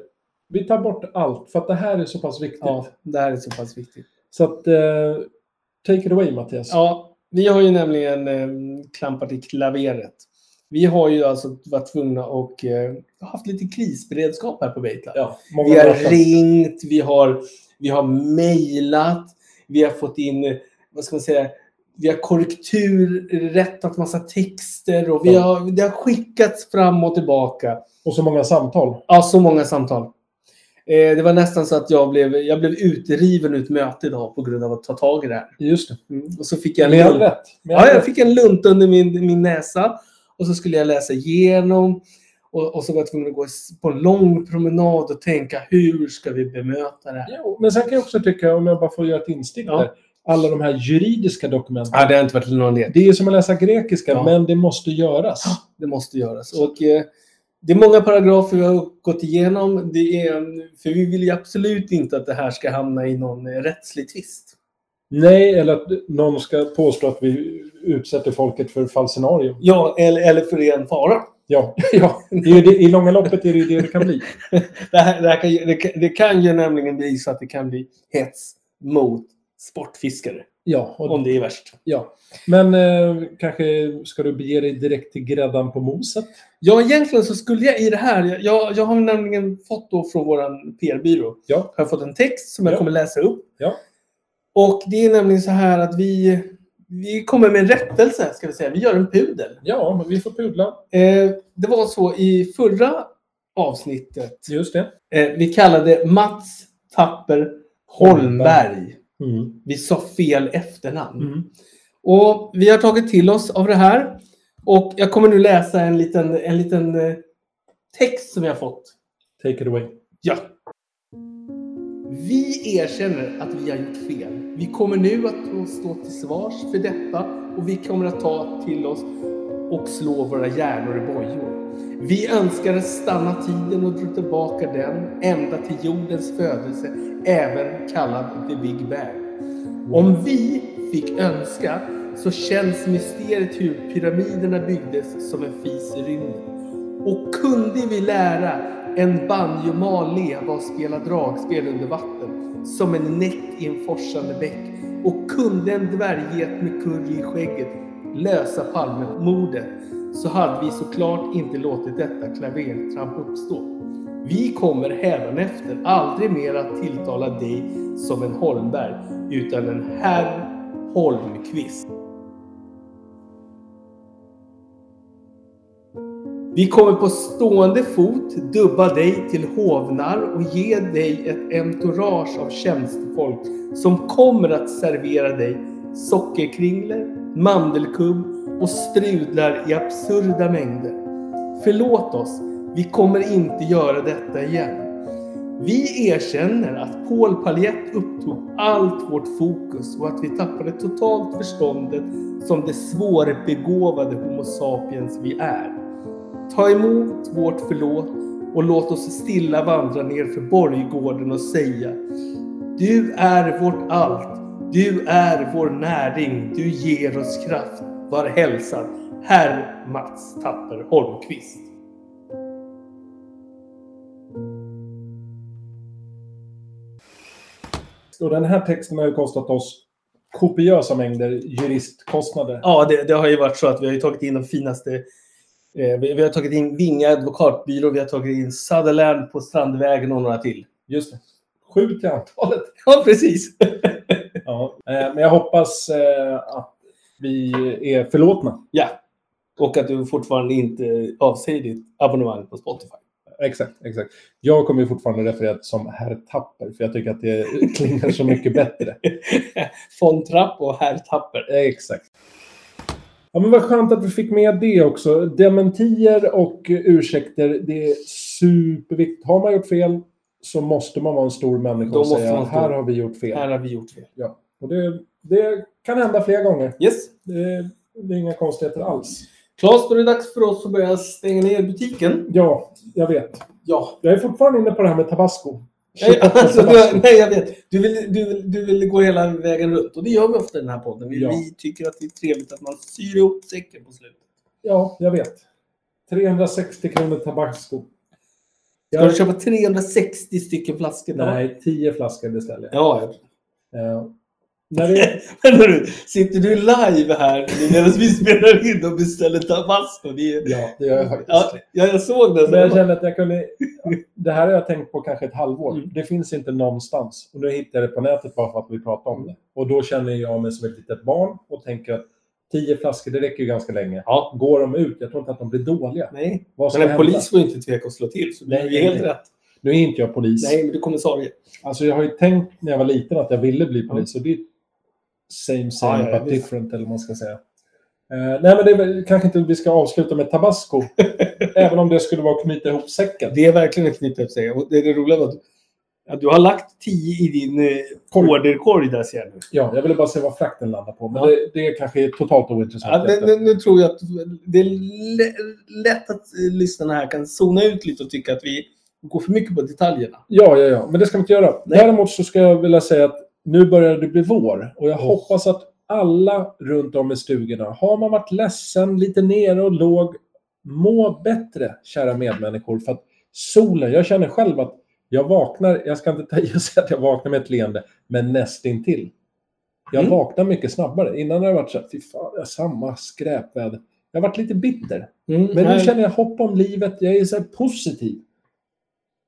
S3: vi tar bort allt för att det här är så pass viktigt.
S2: Ja, det här är så pass viktigt.
S3: Så att, eh, take it away Mattias.
S2: Ja, vi har ju nämligen eh, klampat i klaveret. Vi har ju alltså varit tvungna och eh, haft lite krisberedskap här på Baitland.
S3: Ja, många
S2: Vi har
S3: möten.
S2: ringt, vi har, vi har mejlat, vi har fått in, eh, vad ska man säga, vi har korrekturrättat massa texter och vi
S3: Ja.
S2: har, det har skickats fram och tillbaka.
S3: Och så många samtal.
S2: Ja, så många samtal. Eh, det var nästan så att jag blev, jag blev utriven ur ett möte idag på grund av att ta tag i det här.
S3: Just det.
S2: Och så fick jag en
S3: Med all
S2: lugn-
S3: rätt. Med all
S2: Mm. Ja, jag
S3: rätt.
S2: fick en lunt under min, min näsa och så skulle jag läsa igenom. Och, och så var jag tvungen att gå på en lång promenad och tänka hur ska vi bemöta det här?
S3: Jo, men sen kan jag också tycka, om jag bara får göra ett instick
S2: Ja.
S3: där, alla de här juridiska dokumenten.
S2: Ja, det har inte varit någon led.
S3: Det är som att läsa grekiska,
S2: Ja.
S3: men det måste göras.
S2: Det måste göras. Och, eh, det är många paragrafer vi har gått igenom. Det är, för vi vill ju absolut inte att det här ska hamna i någon eh, rättslig tvist.
S3: Nej, eller att någon ska påstå att vi utsätter folket för falsenarium.
S2: Ja, eller, eller för ren fara.
S3: Ja, ja. Det är ju det, i långa loppet är det ju det det kan bli.
S2: Det, här, det, här kan, ju- det, kan, det kan ju nämligen bli så att det kan bli hets mot sportfiskare.
S3: Ja,
S2: Om
S3: och,
S2: det är värst.
S3: ja. Men eh, kanske ska du bege dig direkt till gräddan på moset?
S2: Ja, egentligen så skulle jag i det här, jag- jag, jag har nämligen fått då från vår PR-byrå,
S3: Ja.
S2: har jag fått en text som jag
S3: Ja.
S2: kommer läsa upp.
S3: Ja.
S2: Och det är nämligen så här att vi, vi kommer med en rättelse, ska vi säga. Vi gör en pudel.
S3: Ja, men vi får pudla.
S2: Eh, det var så i förra avsnittet,
S3: Just det.
S2: eh, vi kallade Mats Tapper Holmberg.
S3: Mm.
S2: Vi sa fel efternamn.
S3: Mm.
S2: Och vi har tagit till oss av det här. Och jag kommer nu läsa en liten, en liten eh, text som jag har fått.
S3: Take it away.
S2: Ja. Vi erkänner att vi har gjort fel. Vi kommer nu att stå till svars för detta och vi kommer att ta till oss och slå våra hjärnor i bojor. Vi önskar stanna tiden och dra tillbaka den ända till jordens födelse, även kallad the Big Bang. Om vi fick önska så känns mysteriet hur pyramiderna byggdes som en fis i rymden. Och kunde vi lära en banjomal leva och spela dragspel under vatten som en näck i en forsande bäck och kunde en dvärgget med kurr i skägget lösa Palmemordet så hade vi såklart inte låtit detta klavertramp uppstå. Vi kommer hädanefter aldrig mer att tilltala dig som en Holmberg utan en herr Holmqvist. Vi kommer på stående fot dubba dig till hovnar och ge dig ett entourage av tjänstefolk som kommer att servera dig sockerkringlor, mandelkubb och strudlar i absurda mängder. Förlåt oss, vi kommer inte göra detta igen. Vi erkänner att Paul Paljett upptog allt vårt fokus och att vi tappade totalt förståndet som det svårbegåvade Homo sapiens vi är. Ta emot vårt förlåt och låt oss stilla vandra ner för borggården och säga Du är vårt allt. Du är vår näring. Du ger oss kraft. Var hälsad, herr Mats Tapper Holmqvist.
S3: Och den här texten har ju kostat oss kopiösa mängder juristkostnader.
S2: Ja, det, det har ju varit så att vi har ju tagit in de finaste. Eh, vi, vi har tagit in Vinga advokatbyrå, vi har tagit in Sutherland på Strandvägen och några till.
S3: Just det. Sju till antalet.
S2: Ja, precis.
S3: Ja. Eh, Men jag hoppas eh, att vi är förlåtna.
S2: ja. Och att du fortfarande inte avsäger ditt abonnemang på Spotify.
S3: Exakt, exakt. Jag kommer ju fortfarande referera som herr Tapper, för jag tycker att det klingar så mycket bättre.
S2: Von Trapp och herr Tapper.
S3: Exakt. Ja, men vad skönt att vi fick med det också. Dementier och ursäkter, det är superviktigt. Har man gjort fel så måste man vara en stor människa
S2: Då
S3: och
S2: måste
S3: säga
S2: man stå-
S3: här har vi gjort fel.
S2: Här har vi gjort fel.
S3: Ja. Och det, det kan hända flera gånger.
S2: Yes.
S3: Det, det är inga konstigheter alls.
S2: Claes, då är det dags för oss att börja stänga ner butiken.
S3: Ja, jag vet.
S2: Ja.
S3: Jag är fortfarande inne på det här med tabasco.
S2: Nej, alltså, du, nej jag vet. Du vill, du, vill, du vill gå hela vägen runt. Och det gör vi ofta i den här podden. Vi,
S3: Ja.
S2: vi tycker att det är trevligt att man syr ihop säcken på slutet.
S3: Ja, jag vet. 360 kronor tabasco.
S2: Ska
S3: Jag-
S2: du köpa 360 stycken flaskor? per dag?
S3: Nej, 10 flaskor beställer jag.
S2: Ja, ja.
S3: Eh, när det,
S2: Men hörru, sitter du live här nu medan vi spelar in och beställer tabasco? Det är...
S3: ja, det gör jag faktiskt.
S2: ja, ja, jag såg det.
S3: Men jag kände att jag kunde... Det här har jag tänkt på kanske ett halvår.
S2: Mm.
S3: Det finns inte någonstans. Och nu hittade jag det på nätet bara för att vi pratade om det. Och då känner jag mig som ett litet barn och tänker att 10 flaskor, det räcker ju ganska länge.
S2: Ja.
S3: Går de ut? Jag tror inte att de blir dåliga.
S2: Nej.
S3: Vad ska
S2: Men en
S3: hända?
S2: polis får ju inte tveka att slå till. Så
S3: Nej,
S2: det är helt
S3: nej.
S2: rätt.
S3: Nu är inte jag polis.
S2: Nej, men du är kommissarie.
S3: Alltså jag har ju tänkt när jag var liten att jag ville bli polis. Och det är same same
S2: Ja, ja,
S3: but
S2: visst.
S3: different eller vad man ska säga. Eh, nej men det är väl, kanske inte vi ska avsluta med tabasco. även om det skulle vara att knyta ihop säcken.
S2: Det är verkligen ett knippe upp sig. Och det, det roliga var att, att du har lagt 10 i din eh, orderkorg där ser jag nu.
S3: Ja, jag ville bara se vad frakten landar på. Men
S2: Ja.
S3: det, det kanske är totalt
S2: Ja,
S3: ointressant.
S2: men, nu, nu tror jag att det är lä- lätt att eh, lyssnarna här kan zona ut lite och tycka att vi går för mycket på detaljerna.
S3: Ja, ja, ja. Men det ska vi inte göra. Däremot så ska jag vilja säga att nu börjar det bli vår. Och jag
S2: Oh.
S3: hoppas att alla runt om i stugorna, har man varit ledsen, lite nere och låg, må bättre, kära medmänniskor. För att solen, jag känner själv att jag vaknar, jag ska inte ta i och säga att jag vaknar med ett leende, men nästintill. Jag
S2: Mm.
S3: vaknar mycket snabbare. Innan har jag varit så här, fy fan, det är samma skräpväder. Jag har varit lite bitter.
S2: Mm,
S3: Men nu känner jag hopp om livet. Jag är så här positiv.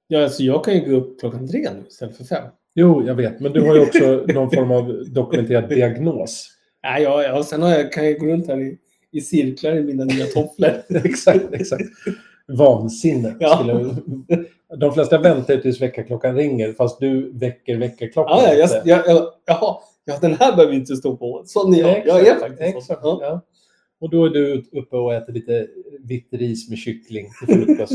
S2: ja, alltså, jag kan ju gå upp klockan tre nu istället för fem.
S3: Jo, jag vet. Men du har ju också någon form av dokumenterad diagnos.
S2: Nej, ja, ja, och sen har jag, kan jag gå runt här i, i cirklar i mina nya tofflor.
S3: exakt, exakt. Vansinne.
S2: Ja.
S3: Skulle... De flesta väntar ju tills väckarklockan ringer, fast du väcker väckarklockan.
S2: Ja, ja, jag,
S3: lite.
S2: jag, jag, jaha, ja, den här behöver inte stå på. Sån är jag.
S3: Exakt,
S2: Jag är faktiskt sån.
S3: exakt,
S2: Ja.
S3: ja. Och då är du uppe och äter lite vitt ris med kyckling till frukost.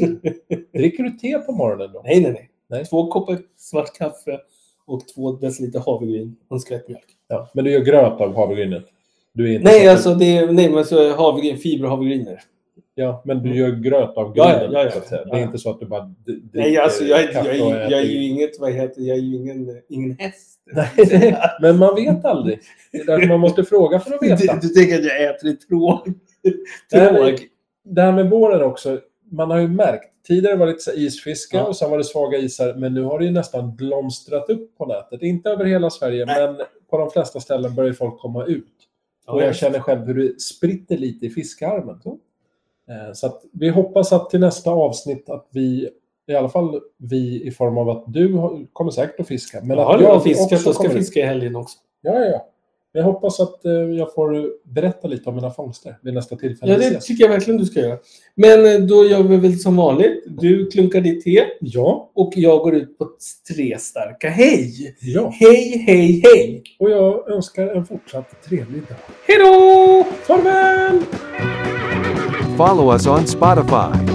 S3: Dricker du te på morgonen då?
S2: Nej, nej, nej,
S3: Nej.
S2: Två koppar svart kaffe och två deciliter havregryn och en skvätt mjölk.
S3: Ja. Men du gör gröt av havregrynet? Du är inte
S2: Nej,
S3: så-
S2: alltså det är, nej, men så är havregryn, fiberhavregrynor.
S3: Ja, men du gör gröt av
S2: Ja, ja,
S3: grunden.
S2: ja, ja.
S3: så att säga. Det är
S2: Ja, ja.
S3: inte så att du bara d- dricker
S2: Nej, alltså jag, är- jag,
S3: kaffe
S2: är-
S3: och
S2: jag,
S3: äter.
S2: är ju inget, vad heter jag är ju ingen, ingen häst.
S3: Nej, men man vet aldrig. Det är därför man måste fråga för att
S2: Du,
S3: veta.
S2: du tänker att jag äter i tråg?
S3: Nej,
S2: tråg.
S3: Det här med våren också. Man har ju märkt. Tidigare var det lite så här isfiske
S2: Ja.
S3: och sen var det svaga isar. Men nu har det ju nästan blomstrat upp på nätet. Inte över hela Sverige, men på på de flesta ställen börjar folk komma ut.
S4: Ja,
S3: Och jag
S4: just.
S3: känner själv hur det spritter lite i fiskarmen. Eh, Så att vi hoppas att till nästa avsnitt att vi, i alla fall vi i form av att du har- kommer säkert att fiska. Men
S4: Ja,
S3: att
S4: jag har
S3: jag
S4: fiskat
S3: också
S4: och ska
S3: kommer ut.
S4: fiska i helgen också.
S3: Ja, ja, ja. Jag hoppas att eh, jag får berätta lite om mina fångster vid nästa tillfälle.
S2: Ja,
S3: vi
S2: det
S3: ses.
S2: tycker jag verkligen du ska göra. Men eh, då gör vi väl som vanligt. Du klunkar ditt te
S3: ja,
S2: och jag går ut på tre starka hej.
S3: ja.
S2: Hej, hej, hej!
S3: Och jag önskar en fortsatt trevlig dag.
S2: Hej då!
S3: Farväl!
S1: Follow us on Spotify.